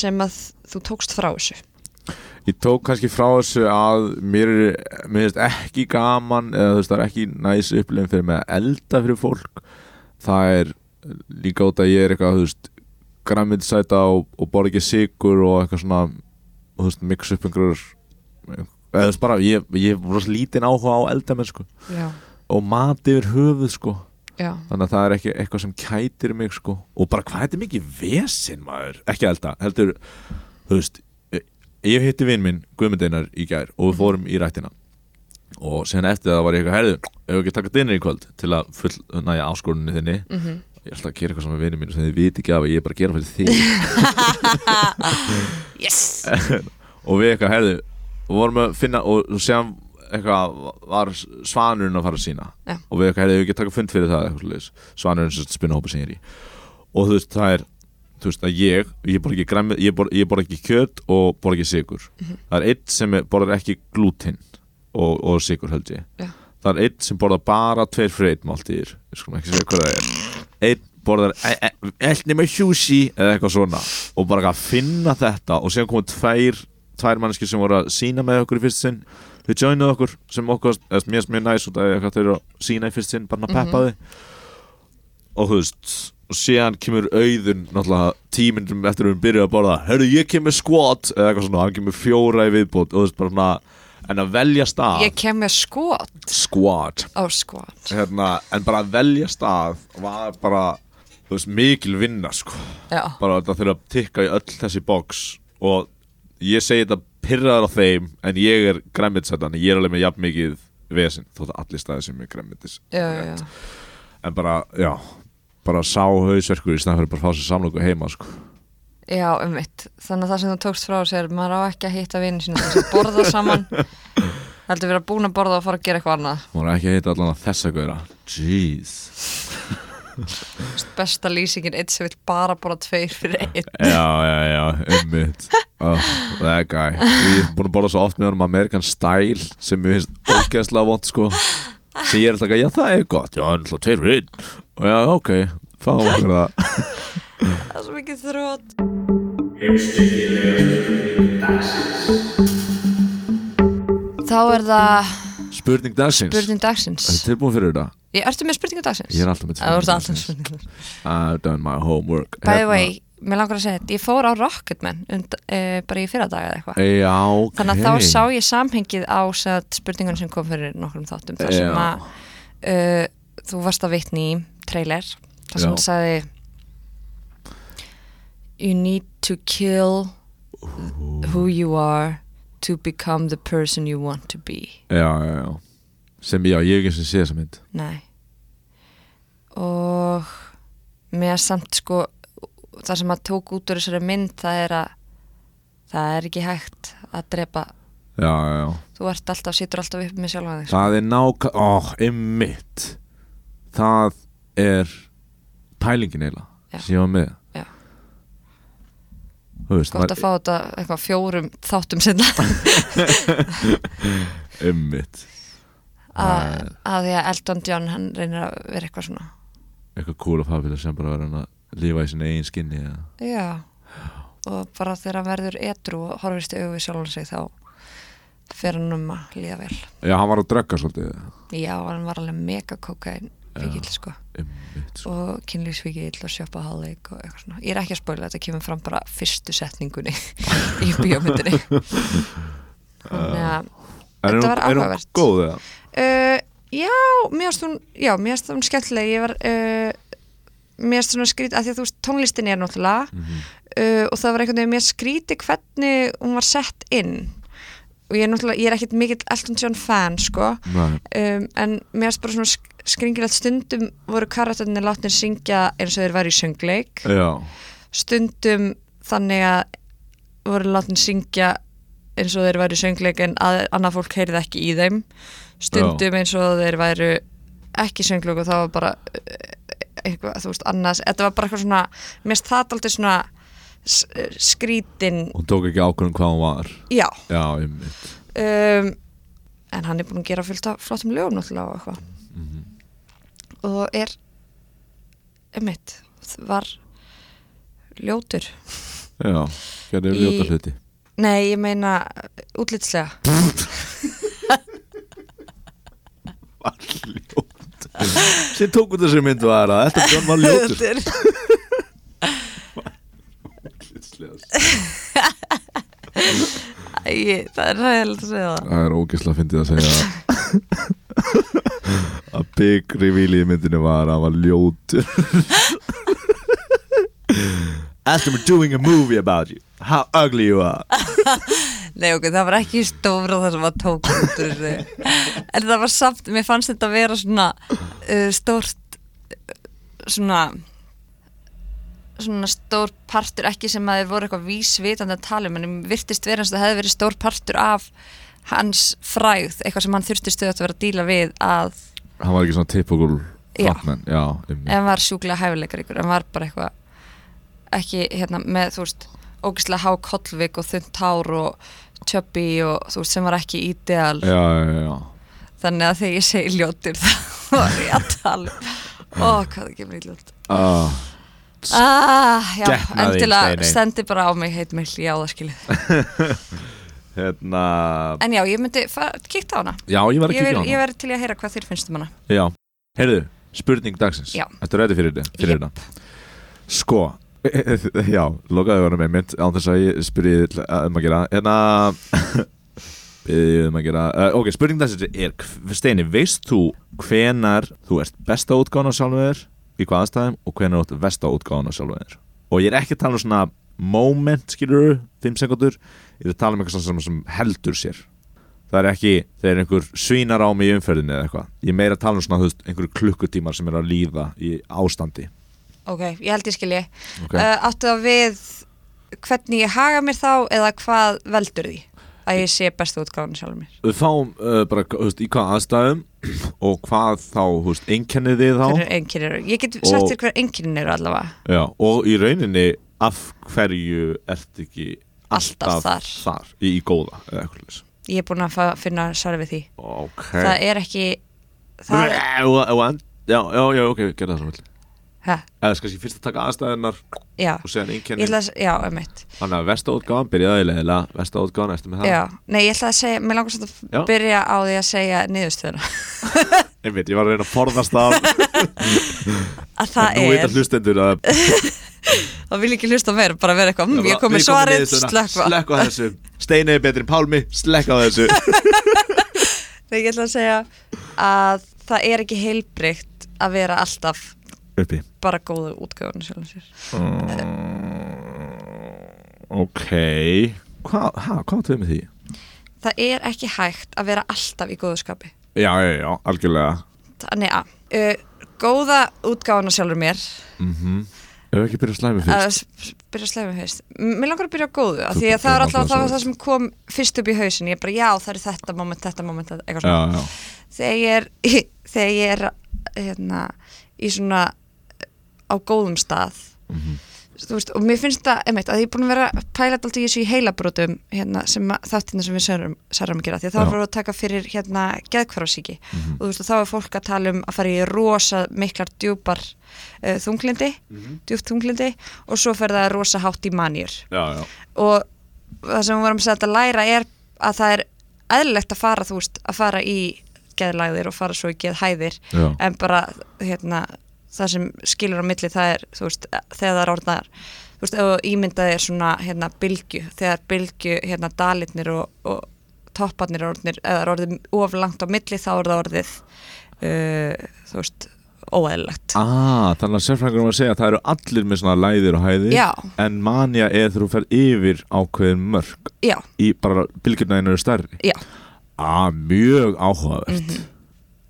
sem að þú tókst frá þessu
ég tók kannski frá þessu að mér er mér finnst ekki gaman eða þú veist það er ekki næs upplifin fyrir mig að elda fyrir fólk það er líka út að ég er eitthvað þú veist græmiðsæta og, og borð ekki sigur og eitthvað svona og þú veist mix upp einhverjur eða þú veist bara ég, ég er rosa lítinn áhuga á eldamenn sko
Já,
og mat yfir höfuð sko
já,
þannig að það er ekki eitthvað sem kætir mig sko. og bara hvað þetta er mikið vesinn maður ekki elda, heldur þú veist, eh, ég hitti vinn minn Guðmundeinar í gær og við fórum í rættina og sen eftir það var ég eitthvað herðu, ef við ekki taka dinner í kvöld til að full næja áskorunni þinni
mhm
ég er alltaf að gera eitthvað saman með vinnin mín sem þið viti ekki af að ég er bara að gera fyrir þig
Yes
og við eitthvað herðu og vorum að finna og sem eitthvað var svanurinn að fara að sína
Já.
og við eitthvað herðu við ekki taka fund fyrir það eitthvað svoleiðis. svanurinn sem spinna hópa sem ég er í og þú veist það er þú veist að ég, ég borð ekki græmi, ég borð, ég borð ekki kjöt og borð ekki sigur það er eitt sem er- borðar ekki glútin og, og sigur held ég
Já.
það er eitt sem borðar bara tveir fyrir eitt máltíðir, ég skulum ekki segja hvað það er einn borðar e, eldni með hjúsi eða eitthvað svona og bara að finna þetta og síðan komu tveir tvær mannskir sem voru að sína með okkur í fyrst sinn þau joinuðu okkur sem okkur eða, mér er mjög næs út af hvað þau eru að sína í fyrst sinn bara að peppa þau og þú veist og síðan kemur auðun náttúrulega tímindum eftir að við byrjuðum að borða herru ég kemur squat eða eitthvað svona hann kemur fjóra í viðbót og þú veist bara svona en að velja stað
Ég kem með skot
squat
á skot
hérna, en bara að velja stað var bara þú veist mikil vinna sko
Já,
bara þetta þurfa að tikka í öll þessi box og ég segi þetta pyrraðar á þeim en ég er græmitsætan ég er alveg með jafn mikið vesinn þótt að allir staðir sem er græmitis
já, já, já.
en bara, já bara sá hausverkur í staðan fyrir bara að fá sér samlöku heima sko.
já ummitt Þannig að það sem þú tókst frá þessu er maður á ekki að hitta vini sína þess að borða saman heldur vera búin að borða og fara að gera eitthvað annað
maður er ekki að heita allan að þessa gauðra jeez
besta lýsingin, eitt sem vill bara borða tveir fyrir einn
já, já, já, ummitt oh, that guy ég er búin að borða svo oft með honum American Style sem mér finnst ógeðslega vond sko sem ég er alltaf að, já það er gott já, hann er alltaf tveir rinn og já, ok, fáum okkur það
Það er svo mikið þrótt Þá er það
Spurning dagsins
spurning dagsins
Er tilbúin fyrir þetta?
Ég ertu með spurningu dagsins?
Ég er alltaf með
Það voru alltaf
dagsins.
spurningu dagsins
I've done my homework Hérna.
By the way, mér langar að segja þetta Ég fór á Rocketman und, uh, bara í fyrradaga eða eitthvað
Hérna, Já, ok
Þannig að þá sá ég samhengið á satt, spurningun sem kom fyrir nokkrum þáttum þar sem
Já.
að uh, þú varst að vitni í trailer þar sem
Já.
það sagði You need to kill who you are to become the person you want to be
Já, já, já Sem, já, ég hef ekki sem sé þessa mynd
Nei og með samt sko það sem að tók út úr þessari mynd það er að það er ekki hægt að drepa
Já, já, já
þú ert alltaf, situr alltaf upp með sjálfa þig sko.
Það er nákvæm Ó, emmitt Það er pælingin
Já.
eiginlega sem ég var með
Já.
Þú veist,
gott að fá þetta eitthvað fjórum þáttum sinna
emmitt
að, að því að Elton John hann reynir að vera eitthvað svona
eitthvað cool og fabulous sem bara verður hann að lífa í sinni eigin skinni eða.
já og bara þegar hann verður edru og horfist í augu við sjálfan sig þá fer hann um að líða vel
já, hann var að drögga svolítið
já, hann var alveg mega kokain fíkil sko
Einmitt, sko.
og kynlýsfíkil og sjöpahalik og eitthvað svona ég er ekki að spóla, þetta kemur fram bara fyrstu setningunni í bíómyndinni þannig að
er
þetta
hún,
var
er hún
áhugavert.
góð eða?
Uh, já, mér finnst hún já, mér finnst hún skemmtileg ég var uh, mér finnst svona skrít að því að þú veist tónlistin er náttúrulega uh, og það var einhvern veginn mér skríti hvernig hún var sett inn og ég er náttúrulega, ég er ekkit mikill Elton John fan sko
Nei,
um, en mér finnst bara svona sk- skringilegt stundum voru karatarnir látnir syngja eins og þeir væri í söngleik
já,
stundum þannig að voru látin syngja eins og þeir væru í söngleik en að, annað fólk heyrði ekki í þeim stundum eins og þeir væru ekki í söngleik og það var bara eh, eitthvað, þú veist, annars þetta var bara eitthvað svona, mér finnst það aldrei svona s- eh, skrítin
hún tók ekki ákvörðum hvað hún var
já,
já, einmitt
um, en hann er búin að gera fullt af flottum lögum náttúrulega og eitthvað og er einmitt, var ljótur
já, gerði
Í-
ljóta hluti
Nei, ég meina útlitslega
var ljót sem tók út þessi mynd var að þetta John var ljótur
Þetta er-
það
Æ, Það er ræðilegt að segja það
er ógisla að fyndi að segja að- að byggri vili í myndinu var að hann var ljótur As we're um doing a movie about you How ugly you are
Nei, ok, það var ekki stóra það sem var tók út úr þessu En það var samt, mér fannst þetta að vera svona uh, stórt uh, svona svona stór partur ekki sem að þeir voru eitthvað vísvitandi að tala um en mér virtist vera eins og það hefði verið stór partur af hans frægð eitthvað sem hann þurfti stöðat að vera að díla við að
Hann var ekki svona tippugul
Já.
frontman Já, einmitt.
en var sjúklega hæfileikar ykkur en var bara eitthvað ekki hérna með þú veist ógeðslega há kollvik og þunnt hár og tjöppi og þú veist sem var ekki ideal
já, já, já, já
þannig að þegar ég segi ljótur þá var ég að tala um
Mm.
ó hvað það kemur í ljót
Ah,
ah, já,
Getnaði,
endilega
Steiney.
stendi bara á mig heit mig já það skilið
Hérna
en já ég myndi fa- kíkta á hana
Já, ég var að
ég
kíkja á
verð
hana
ver til í að heyra hvað þér finnst um hana
Já, heyrðu, spurning dagsins
Já.
Þetta er ræði fyrir þetta, fyrir
Jep.
þetta. Sko, já, lokaðu varum einmitt án þess að ég spurði þig til- að- um að gera Hérna Byrðið um að gera uh, Ok, spurning dagsins er hv- Steini, veist þú hvenar þú ert besta útgáðan á sjálfum þér í hvaða staðum og hvenar þú ert versta útgáðan á sjálfum þér Og ég er ekki að tala um svona moment, skilur 5 sekundur Ég er að tala um eitthvað sem, sem heldur sér það er ekki þegar einhver svínar á mig í umferðinni eða eitthvað ég er meira að tala um svona þú veist, einhverju klukkutímar sem er að líða í ástandi
ok, ég held ég skilji
Ok.
okay. áttu það við hvernig ég haga mér þá eða hvað veldur því að ég sé bestu útgáðan sjálfur mér
við fáum uh, bara þú veist, í hvað aðstæðum og hvað þá þú veist, einkennið þið þá
hvernig einkennir eru ég get
Og-
sagt þér hver einkennir eru allavega
Já, og í rauninni af hverju ert ekki
Alltaf
alltaf,
þar.
þar í, í góða eða eitthvað leys
ég er búin að fa- finna svar við því
ok
það er ekki það,
og, og, en, já, já, já, ok, gerða það svo vel
ha,
eða skal ég fyrst að taka aðstæðunar
já,
og segja
ég
einkennið
ætla að já, um eitt
þannig að vestaútgáðan byrjaði leila vestaútgáðan, ertu með það?
já, nei, ég ætla að segja, mér langar svolítið
Já.
að byrja á því að segja niðurstöðuna
einmitt, ég var að reyna að forðast það
að það
Nú veit
er,
að hlustendur að
þá vil ég ekki hlusta meir bara vera eitthvað, mm, ég kom með
Við komum
svarið
niður svona,
slökva,
Slökkva þessu Steini er betri en Pálmi, slekka þessu
nei, ég ætla að segja að það er ekki heilbrygt að vera alltaf
Uppi
bara góðu útgáðan sjálfum sér
Ok Hvað, hæ, hvað áttu við með því?
það er ekki hægt að vera alltaf í góðu skapi
Já, já, já, algjörlega
þannig að uh, góða útgáðan sjálfur mér
Mhm. Ef við ekki byrja slæmi
að
fyrst
s- byrja að slæmi fyrst M- mér langar að byrja á góðu af
Þú-
því að það
þú
var alltaf
langar að
það, var
svo-
það sem kom fyrst upp í hausin ég bara já það er þetta moment, þetta moment þetta- eitthvað
Já,
svona
já,
þegar ég er, þegar
Mhm.
ég er hérna, í svona á góðum stað þú veist, og mér finnst það, einmitt, að ég er búin að vera að pæla þetta alltaf í þessu í heilabrótum hérna, sem að, þáttina sem við særum, særum að gera því að þá
Já.
er fyrir að taka fyrir hérna geðkvarfarsíki
Mhm.
og þú veist, og þá er fólk að tala um að fara í rosa miklar djúpar uh, þunglindi, djúpt þunglindi og svo fer það rosa hátt í manjur
já, já,
og það sem við vorum að segja að læra er að það er eðlilegt að fara, þú veist, að fara í geðlæðir og fara svo í geðhæðir
já,
en bara, hérna, það sem skilur á milli það er, þú veist, þegar það er orðnar þú veist, ef ímyndaði er svona, hérna, bylgju, þegar bylgju, hérna, dalitnir og, og topparnir er orðnir, eða er orðið of langt á milli þá er það orðið uh, þú veist, óeðlilegt
Ah, þannig að sérfræðingur var að segja að það eru allir með svona læðir og hæðir
Já.
En manja er þegar þú fer yfir ákveðin mörg
Já,
Í bara bylgjurnaðinu eru stærri
já
Ah, mjög áhugavert
Mhm.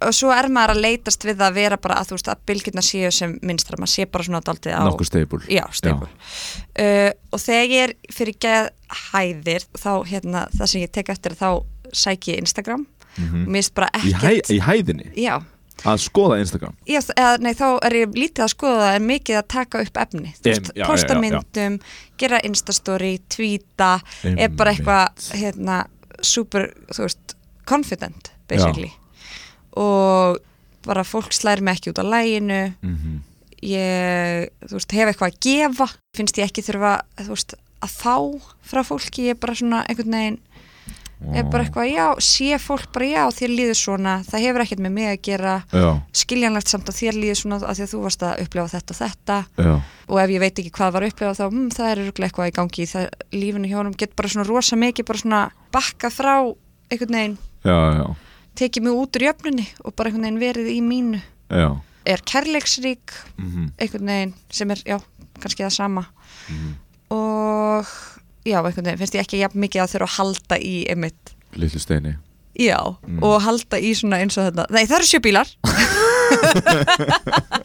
og svo er maður að leitast við að vera bara að þú veist að bylgjurnar séu sem minnstra maður sé bara svona daldið á
Nokkuð steipul
já, stefur uh, og þegar ég er fyrir geðhæðir þá hérna það sem ég tek eftir er þá sæk ég Instagram
Mhm.
og mér finnst bara
í, hæ,
ekkert
í hæðinni
já,
Að skoða Instagram
já þ- eða, nei, þá er ég lítið að skoða það en mikið að taka upp efni þú
Em,
veist,
já, já,
posta
já, já.
myndum, gera instastory tvíta, er bara eitthvað hérna super, þú veist confident basically og bara fólk slær mig ekki út á læginu
mm
ég, þú veist, hef eitthvað að gefa finnst ég ekki þurfa, þú veist, að fá frá fólki, ég er bara svona einhvern veginn, er bara eitthvað já, sé fólk bara já, þér líður svona það hefur ekkert með mig að gera
Já,
skiljanlegt samt að þér líður svona af því að þú varst að upplefa þetta og þetta
já,
og ef ég veit ekki hvað var að upplefa þá, mm, það er örugglega eitthvað í gangi í það, lífinu hjá honum get bara svona rosa mikið, bara svona bakka frá einhvern veginn,
já, já,
tekið mig út úr jöfnunni og bara einhvern veginn verið í mínu
já.
er kærleiksrík
Mhm,
einhvern veginn sem er, já, kannski það sama
mhm.
og já, einhvern veginn finnst ég ekki jafn mikið að þurfa að halda í einmitt,
Litlu steini
já,
Mm.
og halda í svona eins og þetta, nei það eru sjö bílar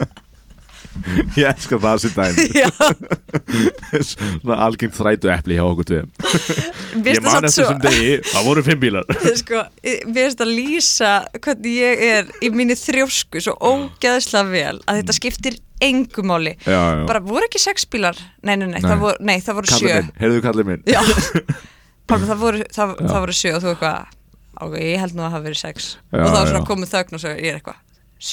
Ég elskar það sem dæmi
já,
Svona algengt þrætu epli hjá okkur tveim
mér
Ég
finnst
man eftir
það samt
þessum
svo
degi, það voru fimm bílar
sko, mér finnst að lýsa hvernig ég er í minni þrjósku svo ógeðslega vel að þetta skiptir engu máli
Mm. Já, já
bara voru ekki sex bílar, nei, nei, nei,
Nei.
Það, voru, nei það voru
Kallið
sjö
minn, heyrðu kallið minn
já, Pálmi, það voru, það,
Já.
það voru sjö og þú eitthvað, ok, ég held nú að það hafi verið sex
Já,
og þá er
já.
svona komið þögn og svo ég er eitthvað,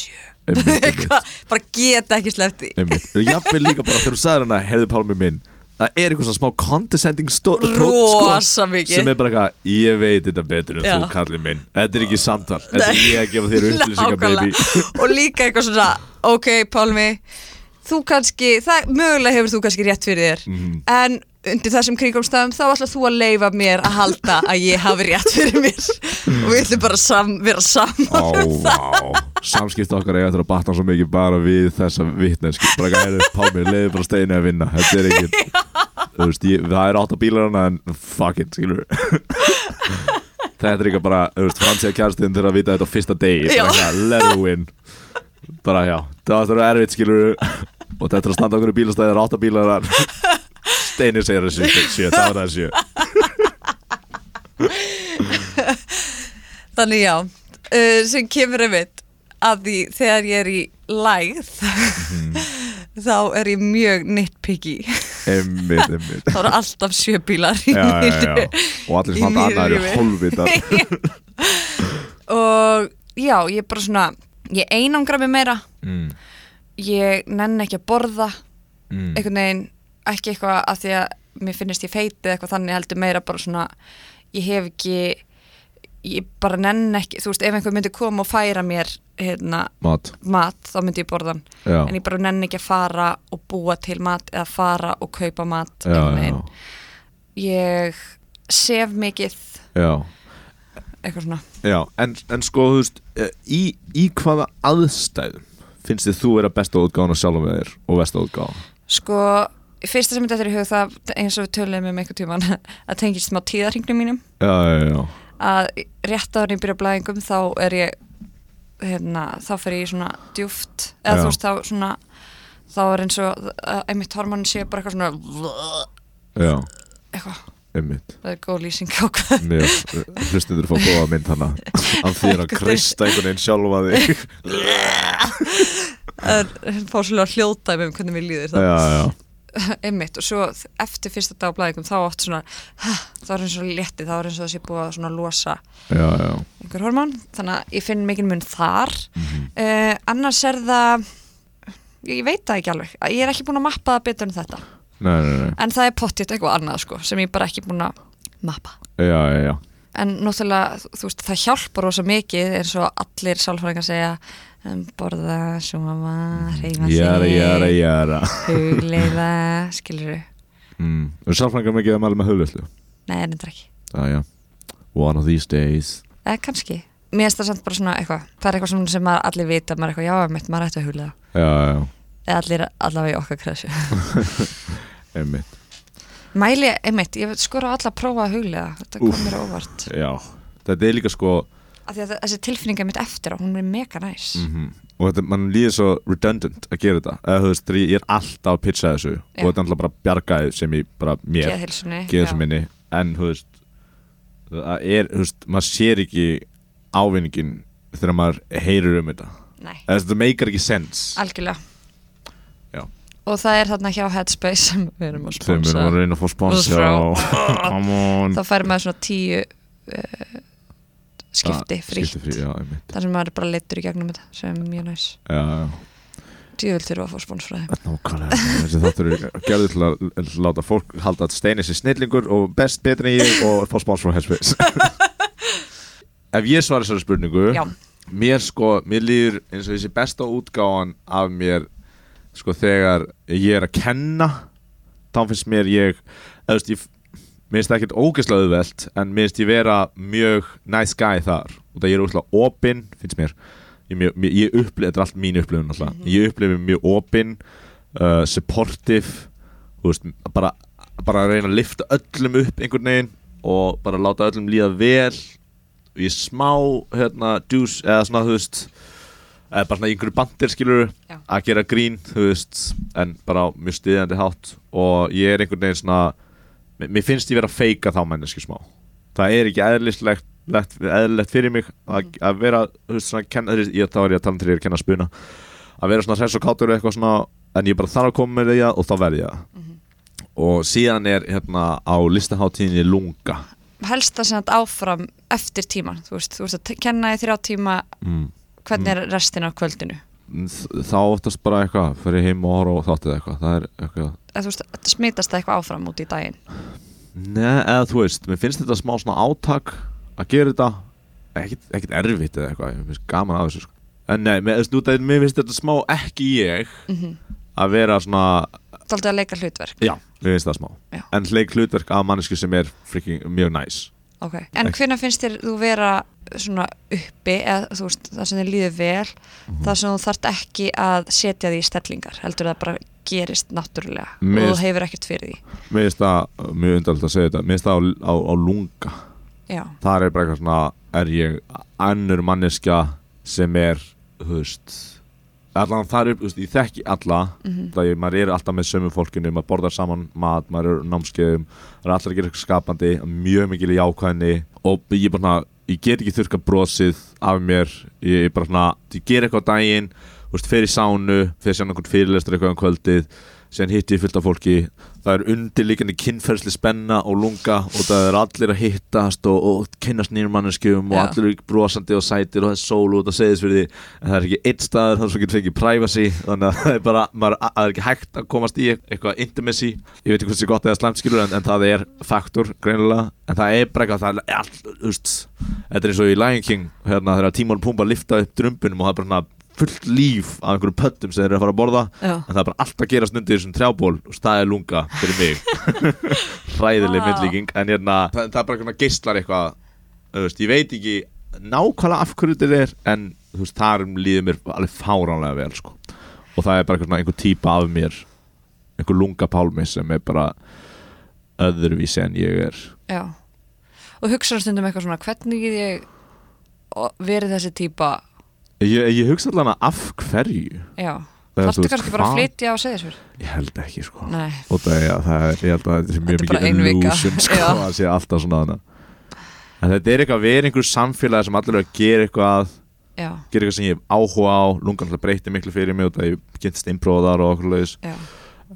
sjö
Einmitt, einmitt.
eitthvað, bara geta ekki sleppt því
Einmitt. Og Jafnvel líka bara þegar þú sagði hana Herðu Pálmi minn Það er eitthvað svona smá condescending stó- tónn,
Rosa mikið.
Sem er bara eitthvað Ég veit þetta betur en
Já.
þú kallið minn Þetta er ekki samtal Þetta er
Nei.
ég að gefa þér upplýsingar baby
Nákvæmlega. og líka eitthvað svona ok Pálmi þú kannski, það, mögulega hefur þú kannski rétt fyrir þér
Mhm.
en undir þessum kringumstæðum þá ætlar þú að leifa mér að halda að ég hafi rétt fyrir mér og við ætlum bara sam, vera saman
Ó, vá Samskipta okkar eiga þetta að batna svo mikið bara við þessa vittneski Bara eitthvað Herðu Pálmi Leðu bara steinu að vinna Þetta er ekki Þú veist ég, Það er átta bílar hana En fuck it skilur Þetta er ekki bara Þú veist Fransja kjærstinn Þegar að vita þetta á fyrsta degi
Já.
Bara eitthvað Let her win bara já, það var erfitt skilur og þetta er að standa okkur í bílastæði það eru átta bílar steinir segir þessu sjö, það var það sjö
þannig já, uh, sem kemur einmitt að því þegar ég er í lægð
Mhm.
þá er ég mjög nitpicky
einmitt, einmitt
þá eru alltaf sjöbílar í
já, já, já.
mínu-
og allir sem
Í
hann
mínu
annar eru
lífi.
hólvitar
og já, ég er bara svona ég einangra mig meira
mm,
ég nenn ekki að borða
mm.
einhvern veginn, ekki eitthvað að því að mér finnist ég feiti eða eitthvað þannig heldur meira bara svona, ég hef ekki ég bara nenn ekki þú veist, ef einhver myndi koma og færa mér hérna,
mat
mat, þá myndi ég borða hann
já,
en ég bara nenn ekki að fara og búa til mat eða fara og kaupa mat
já,
einhvern
já,
veginn. ég sef mikið
já.
eitthvað svona
já. En, en sko þú veist eh, í, í hvaða aðstæðum finnst þið þú vera besta útgáðan að sjálfa með þér og besta útgáðan
Sko, fyrsta sem þetta er í hug það eins og við töluðum um einhvern tíman að tengist smá tíðarhingnum mínum
já, já, já,
að rétt áður en ég byrja á blæðingum þá er ég hérna, þá fer ég í svona djúft eða
Já.
þú veist þá svona þá er eins og að einmitt hormonin sé bara eitthvað svona
já,
eitthvað,
einmitt
það er góð lýsing á hvað
Mjög, hlustundur fá góða mynd hana af því að kreista einhvern veginn sjálfa þig
það er fá svolítið að hljóta um hvernig mér líður það
já, já,
einmitt og svo eftir fyrsta dag á blæðingum þá átt svona, þá er eins og létti þá er eins og þessi búið að svona losa
já, já
einhver hormón, þannig að ég finn mikinn mun þar
Mhm.
uh, annars er það ég veit það ekki alveg, ég er ekki búin að mappa það betur en þetta,
Nei, nei, nei,
en það er pottitt eitthvað annað sko, sem ég er bara ekki búin að mappa
já, já, já
en náttúrulega, þú veist, það hjálpar rosa mikið eins og allir sálfræðingar segja um, borða, sjóma reyfa
Jara, jara,
sig,
jara
hugleiða skilur þú,
mm. Og sálfrængar mikið að mæla með höflöflu
nei, þetta ekki
Já, já One of these days
eða kannski, mér finnst það samt bara svona eitthvað, það er eitthvað svona sem maður allir vita maður er eitthvað, já, mitt, maður ætti að hugleiða
Já, já,
eða allir allavega í okkar kresu
einmitt
Mæli, einmitt, ég skora á alla að prófa að huglega þetta kom
Úff.
mér á óvart
Já Þetta er líka sko
af því að þessi tilfinninga mitt eftir á, hún er mega næs
Mm. Og þetta, mann líður svo redundant að gera þetta Eða þú veist, þegar ég er alltaf að pitcha þessu Og
Já.
þetta er alltaf bara bjargaði sem ég bara mér
geðhilsunni
geða sem minni en þú veist það er, þú veist, maður sér ekki ávinningin þegar maður heyrir um þetta
nei,
Eða, þú veist, það meikar ekki sens
algjörlega
Já.
og það er þarna hjá Headspace sem við erum að
þegar maður
sponsa
er að reyna að fá sponsa
Frá.
og- come on
þá fær maður svona tíu uh, skipti
Ah,
frítt
skipti frí, já, einmitt.
þar sem maður er bara leittur í gegnum þetta sem er mjög næs
já, já.
djúvilt þurfa að fá sponsfræði
nákvæmlega þessi þáttur er gerður til að til að láta fólk halda að steini sér snillingur og best betri en ég og fá spons frá Headspace ef ég svara þessari spurningu
já,
mér sko, mér líður eins og þessi besta útgáðan af mér sko þegar ég er að kenna þá finnst mér ég eða þú veist, ég mér finnst það ekkert ógeðslega auðvelt en mér finnst ég vera mjög nice guy þar og það ég er ógeðslega opinn, finnst mér ég, mjög, mér- ég upplif, þetta er allt mín upplifun náttúrulega. ég upplifi mig mjög opinn uh, supportive þú veist, bara, bara að reyna að lifta öllum upp einhvern veginn og bara láta öllum líða vel og ég er smá hérna, djús eða svona þú veist eða Eh, bara svona í einhverju bandir skilur
Já.
að gera grín þú veist en bara á mjög stiðjandi hátt og ég er einhvern veginn svona mér- mér finnst ég vera að feika þá menneski smá það er ekki eðlislegt lett- eðlilegt fyrir mig að, að vera þú veist svona kenna, þú veist, ég, þá er ég að tala um þegar ég er að kenna að spuna að vera svona hress og kátur og eitthvað svona en ég bara þarf að koma með því að og þá verð ég það og síðan er hérna á listaháttíðinni lunga
helst það sem þetta áfram eftir tíman, þú veist, þú veist að t- kenna í þrjá tíma
mm.
hvernig er restin af kvöldinu
Þ- þá oftast bara eitthvað fyrir heim og horf og þáttið eitthvað það er eitthvað
eða þú veist, þetta smitast það eitthvað áfram út í daginn
Nei, eða þú veist, mér finnst þetta smá svona átak að gera þetta ekkit, ekkit erfitt eða eitthvað, mér finnst gaman að þessu sko. en nei, mér, þú veist, út af því, mér finnst þetta smá ekki ég að vera svona,
Það er aldrei að leika hlutverk
já, mér finnst það smá
Já.
en hleik hlutverk af mannesku sem er freaking, mjög næs
okay. En
Ekki.
hvenær finnst þér þú vera svona uppi eða þú veist, það sem þér líður vel
Mhm.
það sem þú þart ekki að setja því í stellingar heldur það bara gerist náttúrulega
Mér
og
finnst-
þú hefur ekkert fyrir því
mér finnst það, mjög undarlegt að segja þetta mér finnst það á, á, á lunga
Já,
þar er bara eitthvað svona er ég annur manneskja sem er þú veist allan þar upp, þú veist, ég þekki alla það ég, maður er alltaf með sömu fólkinu maður borðar saman mat, maður er á námskeiðum það er allir að gera eitthvað skapandi mjög mikil í ákvæðinni og ég bara svona ég get ekki þurka brosið af mér ég, ég bara svona, ég ger eitthvað á daginn þú veist, fer í sánu, fer sér einhvern fyrirlestur eitthvað um kvöldið síðan hitti ég fullt af fólki það er undirlíkandi kynferðsli spenna og lunga og það er allir að hittast og, og kynnast nýjum manneskjum og
Já.
allir eru brosandi og sætir og það er sól út að segja þess fyrir því en það er ekki eitt staður þar sem getur fengið privacy þannig að það er bara, maður, það er ekki hægt að komast í eitthvað intimacy ég veit ekki hversu gott eða slæmt skilur en, en það er faktur greinilega en það er bara eitthvað, það er allt, þú veist þetta er eins og í Lion King hérna þegar Tímon og Pumba lifta upp drömbunum og það er bara svona fullt líf af einhverjum pöttum sem þeir eru að fara að borða
já,
en það er bara alltaf að gerast undir þessum trjából og staðið lunga fyrir mig hræðileg
Ah.
myndlíking en hérna, það, það er bara einhverja geistlar eitthvað þú veist, ég veit ekki nákvæmlega af hverju þetta er en þú veist, þarum líður mér alveg fáránlega vel sko. og það er bara einhver, svona einhver típa af mér einhver lunga pálmi sem er bara öðruvísi en ég er
já Og hugsaðu stundum eitthvað svona, hvernig get ég o- verið þessi típa
ég, ég hugsa allan að af hverju
Já,
Eða, þú
þarftu
veist,
kannski bara að
hvað?
flytja og segja þessu
ég held ekki sko
Nei,
og það, já, það er, ég held að þetta er mjög
Þetta er
mikið
bara ein vika.
illusion sko,
Já.
að sé alltaf svona hana. en þetta er eitthvað að vera í einhverju samfélagi sem allir eru að gera eitthvað
já,
gera eitthvað sem ég hef áhuga á lungan alltaf breyti miklu fyrir mig og það ég kynntist innbróðar og okkur laus
já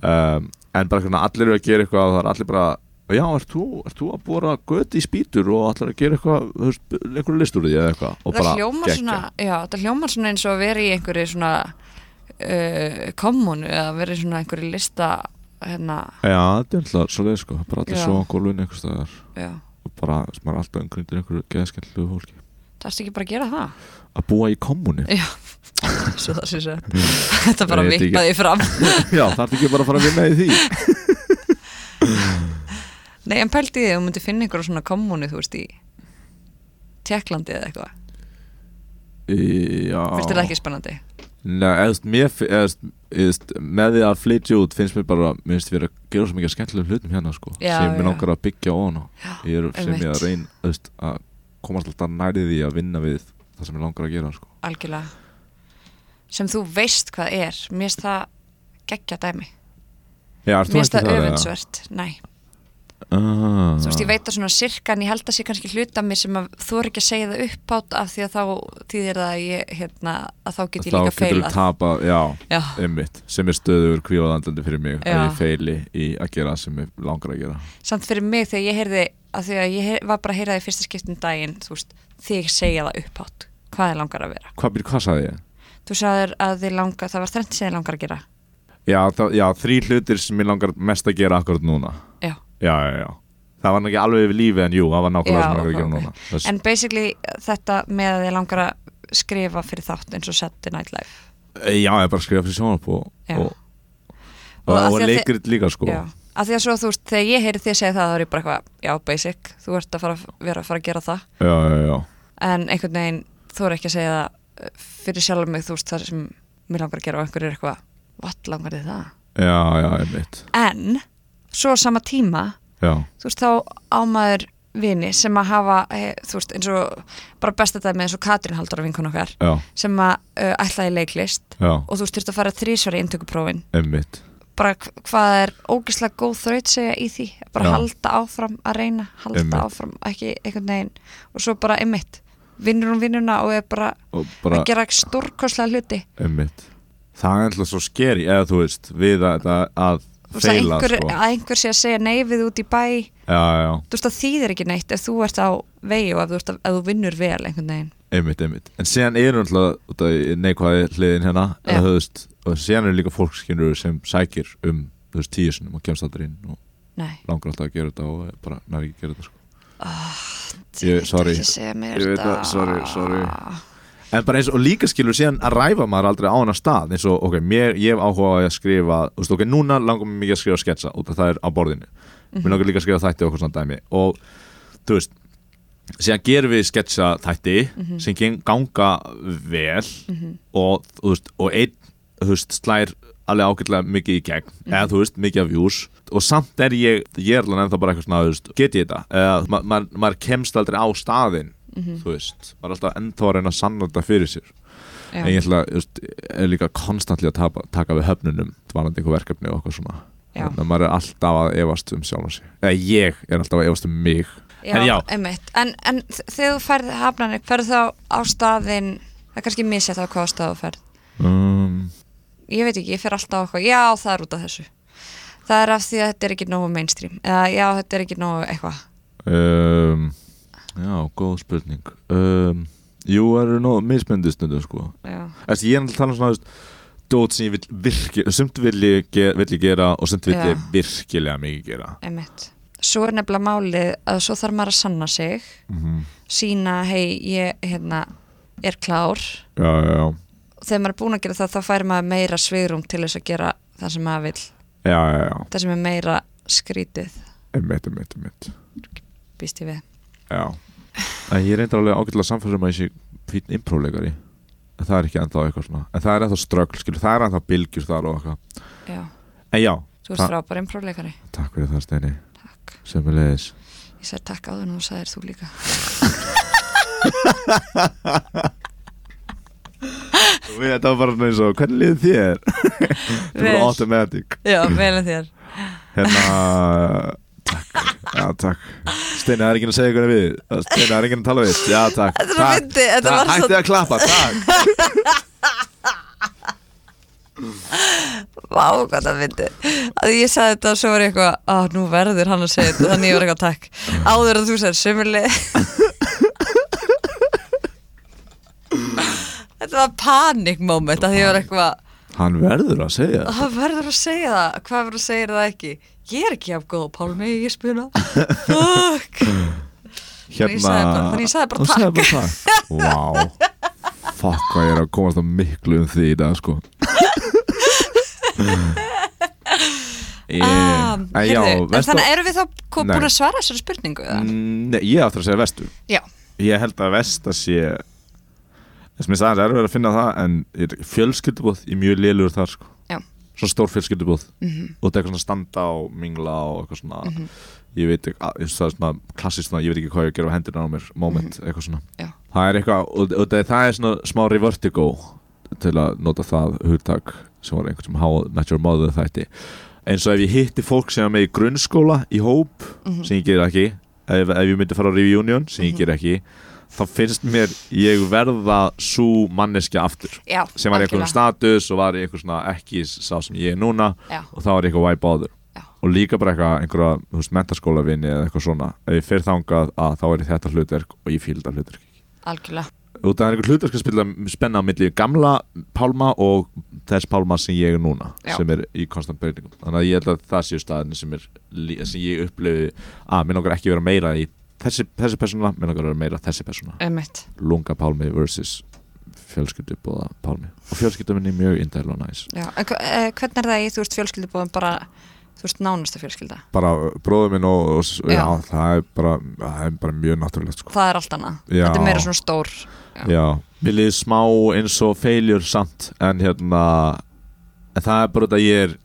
um, en bara hvernig allir eru að gera eitthvað og það er allir bara já, ert þú, ert þú að bóra göti í spýtur og allir að gera eitthvað þú veist, einhverju listur úr því eða eitthvað og
það
bara
hljómar
geggjað.
svona, já, það hljómar svona eins og að vera í einhverju svona uh, kommunu eða vera í svona einhverju lista hérna,
já, þetta er alltaf svolítið sko bara allir
Já.
svo á gólfinu einhvers staðar
já,
og bara, þú veist, maður er alltaf umgryndir einhverju geðskendlu fólki
það erst ekki bara að gera það
að búa í kommuni
já, svo það sé sér þetta bara
Mm. Ég veit ekki.
vippaði fram
já, það er ekki bara að fara að vinna í því
nei, en pældi því að þú myndir finna einhverju svona kommunu, þú veist, í Tjekklandi eða eitthvað,
Í- já
finnst þér það ekki spennandi
Nei, eðst, mér, fi- eðst, eðst, með því að flytja út finnst mér bara, mér finnst við að gera svo mikið skemmtilegum hlutum hérna sko,
Já,
sem
já.
mér langar að byggja ofan á ég er, sem ég
einmitt.
að reyna eðst, að komast alltaf nærið því að vinna við það sem ég langar að gera sko.
algjörlega sem þú veist hvað er mér finnst það geggja dæmi
Já,
mér finnst það öfundsvert, nei
Ah,
þú veist, ég veit að svona sirka en ég held að sé kannski hluta mér sem að þú er ekki að segja það upphátt af því að þá þýðir það að ég, hérna, að þá get ég
Þá
líka
getur
feilað
við tapað, já,
Já,
einmitt sem er stöður kvílaðandandi fyrir mig að
Já.
ég feili í að gera það sem ég langar að gera
samt fyrir mig þegar ég heyrði að því að ég heyr, var bara að heyra það í fyrsta skiptum daginn, þú veist, þig segja það upphátt hvað þið langar að vera
Hvað byrja, hvað sagði ég?
þú sagðir að þið langar, það var þrennt sem þið langar að gera
Já, það, já, þrý hlutir sem ég langar mest að gera akkurat núna
já,
já, já, já það var náttúrulega alveg yfir lífi en jú, það var nákvæmlega sem
Já,
okkur að
ok,
gera
ok.
núna Þess,
en basically þetta með að þið langar að skrifa fyrir þátt eins og setti Night Live
Eh, já, ég bara skrifa fyrir sjónarp og,
Já.
og,
Og
og,
af
og,
því að
leikrit líka sko
Já, af því að svo þú veist, þegar ég heyri því að segja það þá er ég bara eitthvað, já, basic, þú ert að fara, vera að fara að gera það
já, já, já,
en einhvern veginn þú er ekki að segja það eh, fyrir sjálf mig, þú veist, það sem mér langar að gera og einhver er eitthvað, what langar þið það?
já, já, einmitt
En, svo á sama tíma,
já,
þú veist, þá ámaður vini sem að hafa, eh, þú veist, eins og bara besta dæmi eins og Katrín Halldóra vinkun okkar
já,
sem að uh, ætlaði í leiklist
já,
og þú veist, þurft að fara þrísvar í inntökuprófin
einmitt
bara hv- hvað er ógeðslega góð þraut segja í því, bara
Já.
halda áfram að reyna, halda
Einmitt.
áfram ekki einhvern veginn og svo bara einmitt vinnur hún vinnuna og er bara,
og bara,
að gera stórkoslega hluti
einmitt það er alltaf svo skeri, eða þú veist við að, að,
Þú
að
veist, að
feila
einhver,
sko.
að einhver sé að segja nei við út í bæ
já, já,
þú veist það þýðir ekki neitt ef þú ert á vegi og ef þú, ert að, ef þú vinnur vel einhvern veginn
einmitt, einmitt en síðan eru alltaf út af neikvæði hliðin hérna,
Já.
eða þú veist og síðan eru líka fólkskynur sem sækir um þú veist, tíu sinum og kemst aldrei inn og
nei,
langar alltaf að gera þetta og er bara nær ekki að gera þetta sko.
ég
Ég-
veit
sorry.
ekki að segja mér
Ég veit
þetta.
það, sorry, sorry. en bara eins og líka skilur síðan að ræfa maður aldrei á hennar stað eins og ok, mér, ég hef áhuga á að skrifa þú veist, ok, núna langar mér mikið að skrifa sketsa út af það er á borðinu, mér langar líka að skrifa þætti og okkur svona dæmi og þú veist síðan gerum við sketsa þætti
Mhm.
sem geng- ganga vel og þú veist, og einn þú veist, slær alveg ágætlega mikið í gegn
Mhm.
eða þú veist, mikið af views og samt er ég, ég er alveg ennþá bara eitthvað svona þú veist, get ég þetta, eða ma- maður ma kemst aldrei á staðinn
Mhm.
þú veist, maður er alltaf ennþá að reyna að sanna þetta fyrir sér
Já.
en ég ætla, þú veist, er líka konstantli að tapa, taka við höfnunum varandi einhver verkefni og eitthvað svona
Já.
þannig að maður er alltaf að efast um sjálf sig eða ég er alltaf að efast um mig
Já,
en já,
einmitt. En, en þ- þegar þú færð hafnanir, færð þá á staðinn, það er kannski misjætt á hvaða stað þú færð.
um,
Ég veit ekki, ég fer alltaf á eitthvað, já það er út af þessu. Það er af því að þetta er ekki nógu mainstream, eða já þetta er ekki nógu eitthvað.
um, já, góð spurning um, jú, það eru nóg mismyndið stundum sko
Já,
Þessi, ég er alltaf að tala um svona þú veist, dót sem ég vil virki, sumt vil ég, ge, vil ég gera og sumt vil
Já.
ég virkilega mikið gera
einmitt. Svo er nefnilega málið að svo þarf maður að sanna sig,
mm -hmm.
sína, hei, ég hérna, er klár.
já, já, já,
Þegar maður er búin að gera það, þá fær maður meira svigrum til þess að gera það sem maður vil,
já, já, já,
það sem er meira skrítið,
einmitt, einmitt, einmitt
býst ég við.
Já En ég reyndar alveg ágætlega samfélsum að ég sé fín impróleikari En það er ekki ennþá eitthvað svona En það er ennþá ströggl, skilur, það er ennþá bylgjur þar og eitthvað
Já,
En já,
þú ert
Það-
frábær impróleikari.
takk fyrir það Steini
Takk.
Sem er leiðis
Ég sagði takk áður en þú sagðir þú líka
Þetta var bara eins og, hvernig liðið þér? Þetta var
Vel.
automatic
Já, vel en þér
Hérna, takk Já, takk Steini, það er ekki að segja hvernig við Steini, það er ekki að tala við Já, takk
Þetta var
Takk.
fyndi, þetta
Takk,
var svo-
Hættið að klappa, takk
Vá, hvað það myndi að ég sagði þetta og svo var ég eitthvað að nú verður hann að segja þetta þannig ég var eitthvað takk áður að þú segir sömurli Þetta var panic moment að ég var eitthvað
Hann verður að segja það
að verður að segja það hvað verður að segja það ekki ég er ekki af góð pálmi, ég spila fuck Þannig ég sagði bara- þannig ég sagði bara
Hérna- Hún takk Vá, fuck hvað ég er að komast á miklu um því í dag sko
ah,
Ég- Eh, En já,
heyrðu, en
vestu
þannig erum við þá kom-
Nei.
búin að svara þessari spurningu eða?
Mm, Nei, ég áttur að segja vestu
Mm. já,
Ég held að vesta sé þess minnst aðeins erfið að finna það en ég- fjölskyldubóð í mjög lélugur þar sko
já,
svona stór fjölskyldubúð
Mhm.
og þetta er eitthvað svona standa og mingla og eitthvað svona ég veit ekki, að- eins og það er svona klassist svona, ég veit ekki hvað ég ger á hendina á mér moment, eitthvað svona
Mhm. já,
það er eitthvað, og, og það, það er svona smá revertigo til að nota það hugtak sem var einhvern sem How I Met Your Mother þætti eins og ef ég hitti fólk sem er með í grunnskóla í hóp,
Mhm.
sem ég ger ekki ef, ef ég myndi fara á reunion, sem ég ger ekki þá finnst mér ég verða svo manneskja aftur
já
sem var í einhverjum
algjörlega.
status og var í einhver svona ekki sá sem ég er núna
Já.
og þá var ég eitthvað væp áður
Já.
og líka bara eitthvað einhverja þú veist, mentaskólavinni eða eitthvað svona ef ég fer þangað að þá er ég þetta hlutverk og ég fíl þetta hlutverk ekki.
algjörlega,
og það er einhver hlutverk að spila spenna á milli gamla pálma og þess pálma sem ég er núna
Já.
sem er í konstant breytingum þannig að ég held að það séu staðin sem, er, lí- sem ég upplifi að minn okkar ekki vera meira í þessi, þessi persóna, minn okkar vera meira þessi persóna
emitt
lunga pálmi versus fjölskyldu bóða pálmi og fjölskyldu minni er mjög indæl og næs
Já, en hva- eh, hvernig er það í, þú veist, fjölskyldubóðum bara, þú veist, nánasta fjölskylda?
bara bróður minn og, og s-
Já.
já, það, er bara, það er bara mjög náttúrulegt sko.
Það er allt annað.
Já.
Þetta er meira svona stór. Já.
já, mér liði smá eins og failure samt en hérna en það er bara þetta að ég er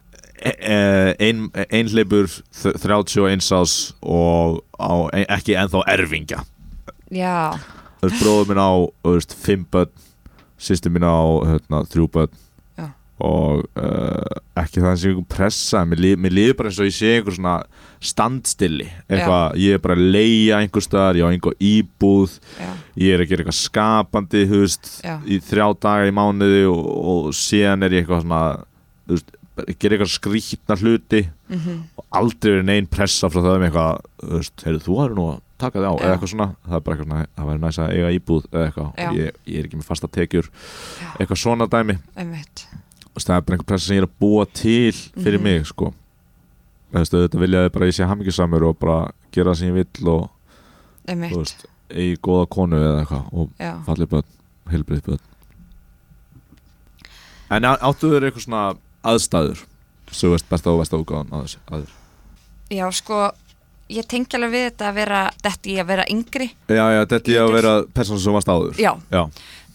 e- e- ein, einhleipur þ- 31 ás og á, e- ekki ennþá erfingja
Já,
Þú veist, bróður minn á þú veist, fimm börn sýstir minn á hérna, þrjú börn
Já.
og uh, ekki það sem einhver pressa mér, líf, mér líður bara eins og ég sé einhver svona standstilli eitthvað, ég er bara að leia einhver staðar, ég á einhver íbúð
já,
ég er að gera eitthvað skapandi þú veist,
Já.
í þrjá daga í mánuði og, og síðan er ég eitthvað svona þú veist, bara gera eitthvað skrýtna hluti
mhm,
og aldrei er neinn pressa frá það um eitthvað, þú veist, heyrðu, þú verður nú að taka þig á,
Já.
eða eitthvað svona, það er bara eitthvað svona það væri næst að eiga íbúð eða eitthvað
Já.
og ég, ég er ekki með fasta tekjur,
já,
eitthvað svona dæmi
einmitt.
og það er bara einhver pressa sem ég er að búa til fyrir
Mhm.
mig, sko þú veist, þetta vilja þið bara að ég sé hamingjusamur og bara gera það sem ég vill og, þú
Einmitt,
veist, eigi góða konu eða eitthvað og
já.
fallið börn, heilbrið börn En á- áttu þér eitthvað svona aðstæður, svo veist besta og besta úgáðan að þessu, að þér?
Já, sko, ég tengi alveg við þetta að vera, þetta í að vera yngri.
Já, já, þetta er að vera persónu sem varst áður
Já,
Já,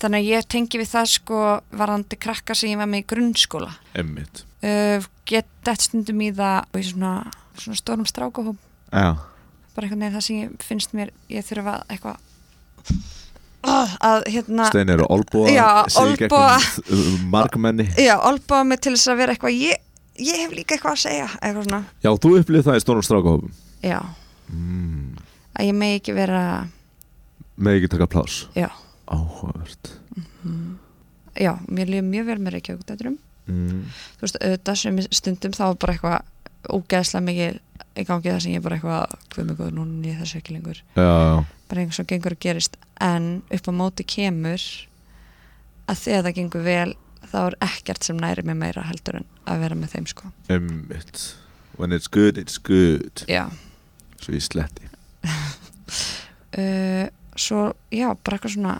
þannig að ég tengi við það, sko, varandi krakka sem ég var með í grunnskóla.
emmitt
Uh, get þetta stundum í það og í svona, svona stórum strákuhóp,
Já,
bara einhvern veginn það sem ég finnst mér, ég þurfa að eitthvað Ah, að hérna
stein eru olbúa
Já, olnboga.
uh, Margmenni
Já, olbaða mig til þess að vera eitthvað ég, ég hef líka eitthvað að segja eitthvað svona,
Já, þú upplýð það í stórum strákahópum
já
mm,
að ég megi ekki vera,
Með ekki taka plás
já
Áhugavert
já, mér líður mjög vel með reykjaugdætturum
mm.
þú veist, auðvitað sem stundum þá er bara eitthvað ógeðslega mikið í gangi það sem ég er bara eitthvað hvað mig góður, núna er ég þessu ekki lengur
Já, já,
bara einhvers og gengur og gerist en upp á móti kemur að þegar það gengur vel þá er ekkert sem næri mig meira heldur en að vera með þeim sko
emmitt When it's good, it's good
já
Svo ég sletti
uh, svo, já, bara eitthvað svona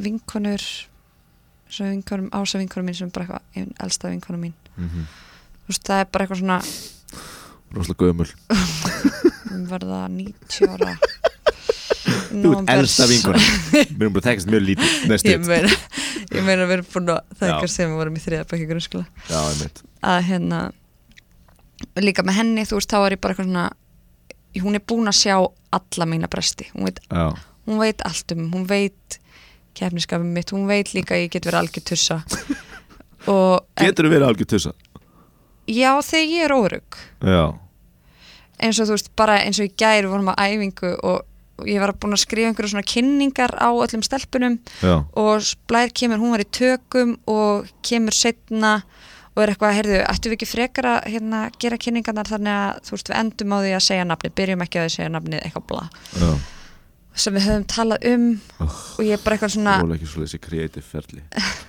vinkonur svo vinkonum, ása vinkonum mín sem er bara eitthvað ein elsta vinkonum mín
mm -hmm.
þú veist, það er bara eitthvað svona
Róslega gömul
um verða 90 ára
Þú ert elsta vinkona Mér erum bara tekist mjög lítið Næstu
ég meina, ég meina að vera búin að það
Já.
er eitthvað sem við vorum í þriða bækja grunnskóla
Já, einmitt
að hérna líka með henni, þú veist, þá er ég bara eitthvað svona hún er búin að sjá alla mína bresti, hún veit
Já,
hún veit allt um, hún veit kefniskafið mitt, hún veit líka að ég get verið algjör tussa og en,
getur þú verið algjör tussa
já þegar ég er órug
Já,
eins og þú veist bara eins og í gær við vorum á æfingu og og ég var búin að skrifa einhverju svona kynningar á öllum stelpunum
já
og Blær kemur, hún var í tökum og kemur setna og er eitthvað, heyrðu, ættum við ekki frekar að hérna, gera kynningarnar þannig að þú veist við endum á því að segja nafni, byrjum ekki á því að segja nafni eitthvað bla,
Já,
sem við höfum talað um
oh,
og ég er bara eitthvað svona
róla ekki svo leysi kreatív ferli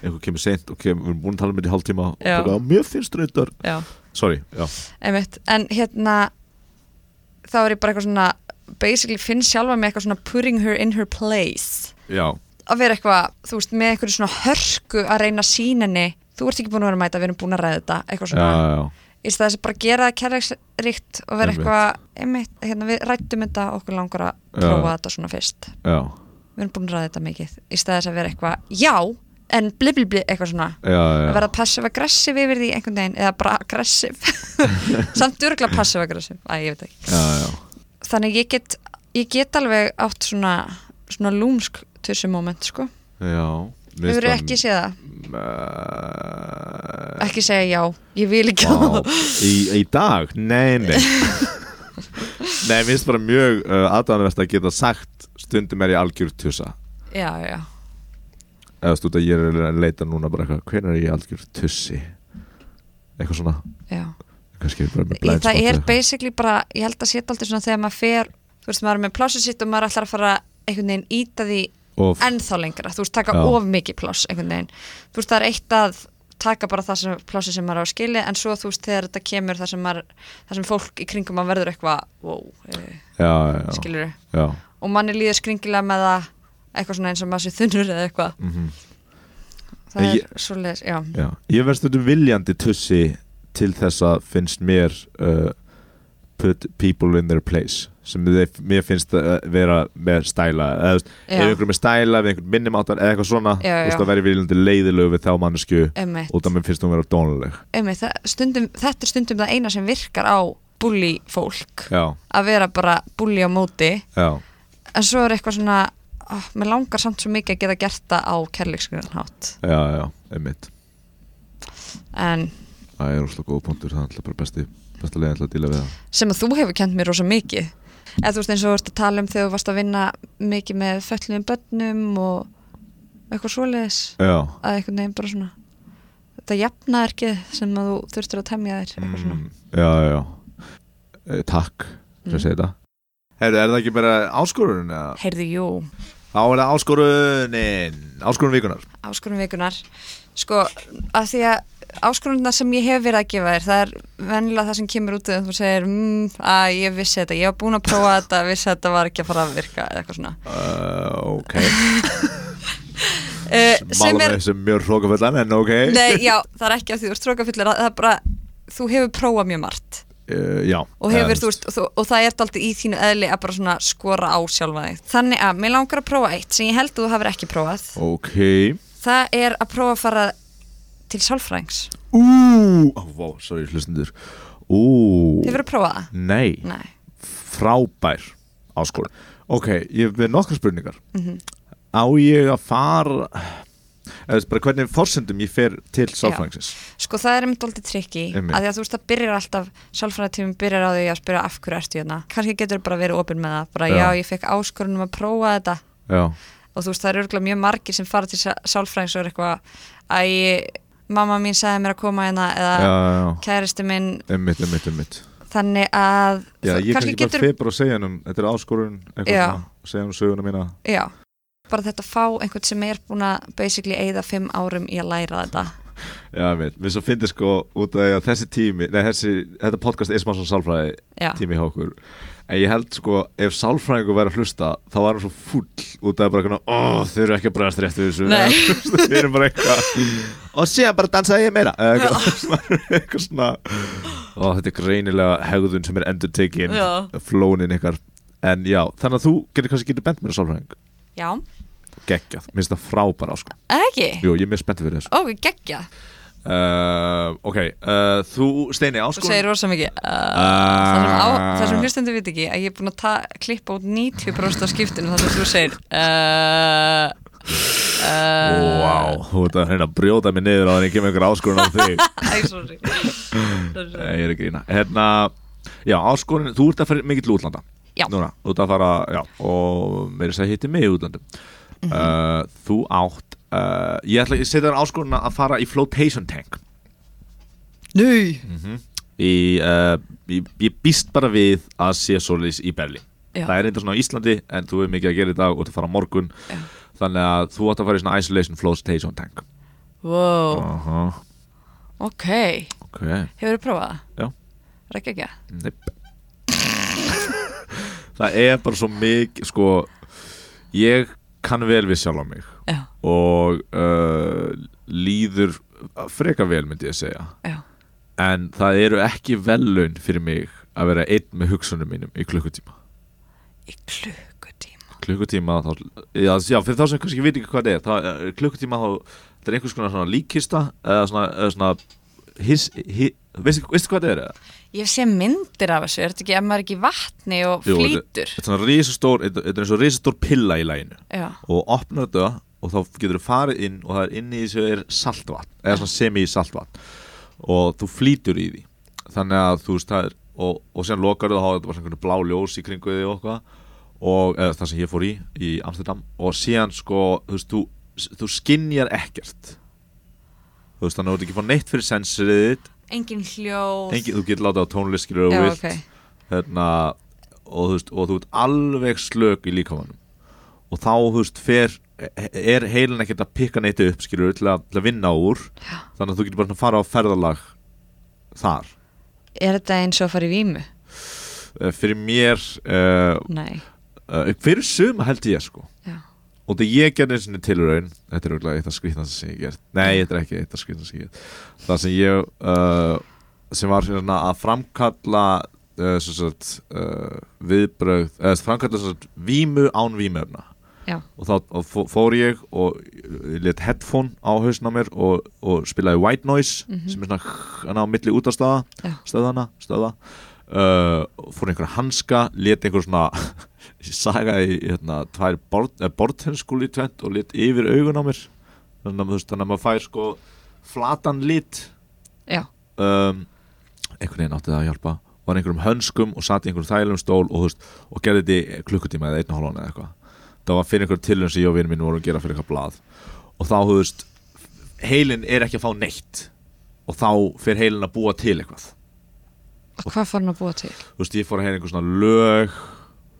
Eitthvað kemur seint og kemur, við erum búin að tala um þetta í hálftíma og
Já.
bara, Mér finnst reyndar
já,
Sorry, já,
einmitt, en hérna þá er ég bara eitthvað svona basically finn sjálfa mig eitthvað svona putting her in her place
já,
að vera eitthvað, þú veist, með eitthvað svona hörku að reyna sín henni þú ert ekki búin að vera að mæta, við erum búin að ræða þetta eitthvað
já,
svona,
já,
í stað þess að bara gera það kærleiksrikt og vera
Einmitt.
eitthvað einmitt, hérna, við rættum þetta og okkur langar að
Já.
prófa þetta svona fyrst
já,
við erum búin að ræða þetta mikið í stað þess að vera eitthvað, já, en bli bli bli eitthvað svona,
já, já,
að
já.
vera passiv-aggressiv yfir því einhvern veginn, eða bara aggressiv samt örgla passiv-aggressiv æ, ég veit ekki,
já, já.
þannig ég get ég get alveg átt svona svona lúmsk tussu moment, sko
já.
við verðum ekki séð það ekki segja já, ég vil ekki
Vá, í, í dag? Nei, nei Nei, mér finnst bara mjög uh, aðdánavert að geta sagt stundum er ég algjör tussa
já, já,
eða stútt að ég er að leita núna bara eitthvað hvenær er ég algjör tussi eitthvað svona
já
kannski er bara með
Í-
blind
það
spot
er
eða-
basically bara, ég held að sé aldrei svona þegar maður fer, þú veist, maður er með plássið sitt og maður ætlar að fara einhvern veginn íta því
og
ennþá lengra, þú veist, taka
Já.
of mikið pláss einhvern veginn, þú veist, það er eitt að taka bara það sem plássið sem maður á skili en svo þú veist, þegar þetta kemur það sem, maður, það sem fólk í kringum maður verður eitthvað wow, eh,
já, já, já,
skilur
já.
og manni líður skringilega með það eitthvað svona eins og maður sé þunnur eða eitthvað
mhm.
það
Ég-
er svoleiðis, já,
já. ég verð stundum viljandi tussi til þess að finnst mér uh, put people in their place sem þeir, mér finnst að vera með stæla eða þú veist, ef
já,
einhver er með stæla, ef einhver minnum áttan eða eitthvað svona,
Já,
þú veist
já.
að vera viljandi leiðilegu við þá mannesku
emmitt
út af mér finnst hún vera dónuleg
Einmitt, það, stundum, þetta er stundum það eina sem virkar á bully fólk
já,
að vera bara bully á móti
já,
en svo er eitthvað svona oh, mér langar samt svo mikið að geta gert það á kærleiksgrunnátt
já, já, einmitt
en
það er úrslega góð punktur, það er alltaf bara besti besta leiðin til að díla við það
sem að þú hefur kent mér rosa mikið eða þú veist eins og þú ert að tala um þegar þú varst að vinna mikið með föllum bönnum og eitthvað svoleiðis
já,
að eitthvað neginn bara svona þetta jafnaðarkið sem að þú þurftir að temja þér eitthvað svona
mm, já, já, já e, takk fyrir
Mm.
að segja þetta Herru, er það ekki bara áskorun? eða?
heyrðu jú,
Þá er það áskorunin Áskorun vikunar
áskorun vikunar sko, af því að áskorunna sem ég hef verið að gefa þér það er venjulega það sem kemur út þegar þú segir mmm, að ég vissi þetta, ég var búin að prófa þetta vissi að þetta var ekki að fara að virka eða eitthvað svona
uh, Ok,
uh,
mála
Eh, sem
með
er,
þessum mjög hrókafellan en ok
nei, já, það er ekki að því þú ert trókafullir það er bara, þú hefur prófað mjög margt
uh, Já
og, hefur, þú veist, og, þú- og það er daldið í þínu eðli að bara svona skora á sjálfa þig þannig að mér langar að prófa eitt sem ég held að þú hafir ekki prófað
Ok
það er að prófa að fara til sálfræðings
Ú, oh, wow, sorry, hlustundur Ú,
hefur þú prófað það?
nei,
Nei,
frábær áskorun Ok, ég hef með nokkra spurningar
Mhm.
Á ég að fara eða þú veist bara hvernig forsendum ég fer til sáfrængsins
Sko það er einmitt aldrei trikki
Einmitt.
að því að þú veist það byrjar alltaf sálfræðatímum byrjar á því að spyrja af hverju ertu hérna kannski getur bara verið opinn með það bara
Já.
já, ég fekk áskorunum að prófa þetta
Já,
og þú veist það eru örgulega mjög margir sem fara til sa- sálfræðings og er eitthvað að ég, mamma mín sagði mér að koma hérna eða
já, já, já
kæristi minn
Einmitt, einmitt, einmitt
þannig að
Já,
þú-
ég kannski bara getur... febr og segja hennum Þetta er áskorun, eitthvað
Já.
svona og Segja hennum söguna mína
já, bara þetta fá einhvern sem er búin að basically eigða fimm árum í að læra þetta
Já, einmitt, við svo fyndið sko út af því að þessi tími Nei, þessi, þetta podcast er smá svo sálfræði
já,
tími hjá okkur en ég held sko ef sálfræðingur væri að hlusta þá var hann svo full út af bara oh, þau eru ekki að bregðast rétt við þessu
Nei.
Eða, þú veist, þau eru bara eitthvað og síðan bara dansaði ég meira Eða eitthvað, svona- eitthvað svona og þetta er greinilega hegðun sem er endur tekin
Já.
flónin ykkar en já, þannig að þú getur kannski getur bent mér að sálfræðing
já,
geggjað, minnst það frábæra sko.
eða ekki
jú, ég er mjög spenntið fyrir þessu
ó, geggja,
uh, ok, uh, þú Steini
þú
áskon
segir rosa mikið uh, Það sem, á,
Ah.
það sem hlustendur veit ekki að ég er búin að ta- klippa út 90% af skiptinu þar sem þú segir uh,
Vá,
uh,
þú ert að reyna að brjóta mig niður á þannig að kemur einhver áskorun á þig
Æ, sorry
Nei, Ég er að grína Hérna, já, áskorun, þú ert að fara mikið til útlanda
Já.
Núna, þú ert að fara, já, og mér er að hitti mig í útlandum
Mhm.
uh, Þú átt uh, Ég ætla að setja þér áskorun að fara í flotation tank
Nei
í, uh, ég, ég býst bara við að sé svoleiðis í Berlín
Já.
það er eitthvað svona á Íslandi en þú hefur mikið að gera í dag og þú fara á morgun
Já.
þannig að þú átt að fara í svona isolation flow station tank
Wow,
uh
ok
ok,
Hefur þið prófað það?
Já.
Rækja ekki að?
neip það er bara svo mikið sko, ég kann vel við sjálf á mig
Já,
og uh, líður freka vel myndi ég segja
já,
en það eru ekki velun fyrir mig að vera einn með hugsunum mínum í klukkutíma
í klukkutíma
klukkutíma þá, já, já, fyrir þá sem kannski veit ekki hvað það er það, eh, klukkutíma þá það er einhvers konar svona líkista eða svona, eða svona his, hi, veistu, veistu hvað það er? eða?
Ég sé myndir af þessu, er þetta ekki ef maður er ekki í vatni og
Jú,
flýtur?
þetta er svona risastór, þetta þetta er eins og risastór pilla í læginu
Já,
og opnar þetta og þá getur þú farið inn og það er inni í þessu er saltvatn eða svona semi-saltvatn og þú flýtur í því þannig að þú veist það er og, og sen lokar þú og þá er þetta bara svona einhvern blá ljós í kringu því og eitthvað og eða, það sem ég fór í í Amsterdam og síðan sko þú veist þú, þú skinjar ekkert þú veist þannig að þú ert ekki fá neitt fyrir sensorið þitt
engin hljóð
Engi, þú getur látað á tónlist skilur
Já,
og vilt
ok.
hérna, og, þú veist, og þú ert alveg slök í líkamannum og þá þú veist, fer, er heilin ekkert að pikka neitt upp skilur til að, til að vinna úr
Já.
þannig að þú getur bara að fara á ferðalag þar
Er þetta eins og að fara í vímu?
Eh, fyrir mér uh,
Nei,
uh, fyrir suma held ég sko
já
og þegar ég gerði einu sinni tilraun þetta er auðvitað eitt af skrýtnast sem ég hef gert nei, þetta er ekki eitt af skrýtnast sem ég hef gert það sem ég uh, sem var svona að framkalla uh, sem sagt, uh, viðbrögð eða uh, framkalla sem sagt, vímu án vímöfna
Já.
og þá og fó- fór ég og ég let headphone á hausna mér og, og spilaði white noise sem er svona hana á milli út af
Já.
staða stöðana, stöða uh, fór í einhverja hanska, let einhver svona ég sagaði hérna, tvær bortenskúli tvent og let yfir augun á mér þannig að, þú veist, þannig að maður fær sko flatan lit
Já,
um, einhvern veginn átti það að hjálpa var í einhverjum hönskum og satt í einhverjum þægilegum stól og, þú veist, og gerði þetta í klukkutíma eða einn og hálfan eða eitthvað það var fyrir einhverjum tilhörn sem ég og vinur minn vorum að gera fyrir eitthvað blað og þá þú veist, heilin er ekki að fá neitt og þá fer heilin að búa til eitthvað
og hvað fór hann að búa til?
þú veist, ég fór að heyra einhver svona lög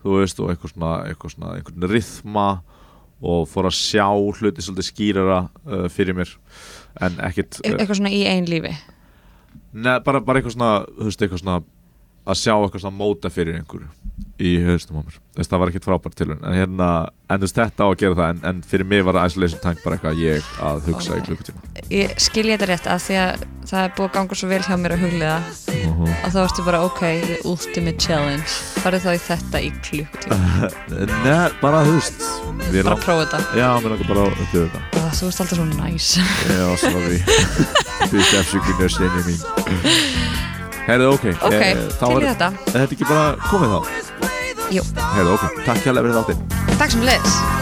þú veist, og einhver svona, einhver svona einhvern rithma og fór að sjá hluti svolítið skýrara uh, fyrir mér en uh, ekkit
E eitthvað svona í einn lífi
Nei, bara, bara eitthvað svona, þú veist, eitthvað svona að sjá eitthvað svona móta fyrir einhverju í höfustum á mér, þú veist, það var ekkert frábært til en hérna, en þú veist, þetta á að gera það en, en fyrir mig var isolation tank bara eitthvað ég að hugsa í klukkutíma
Ég skilja þetta rétt að því að það er búið að ganga svo vel hjá mér að hugliða
Mhm.
að þá ertu bara ok, the ultimate challenge farið þá í þetta í klukkutíma
Nei, bara, þú veist, við
bara
erum
prófa þetta
Já, mér langar bara að þau þetta
Ó, Þú veist alltaf svo næs
Já, sorry Þú veist, afsökunar sinni mín Herðu, ok
Ok,
eh, þá
til í
er-
þetta
Er þetta ekki bara komið þá?
Jú,
Herðu, ok, takk hjá lefrið þáttinn
takk sem leðis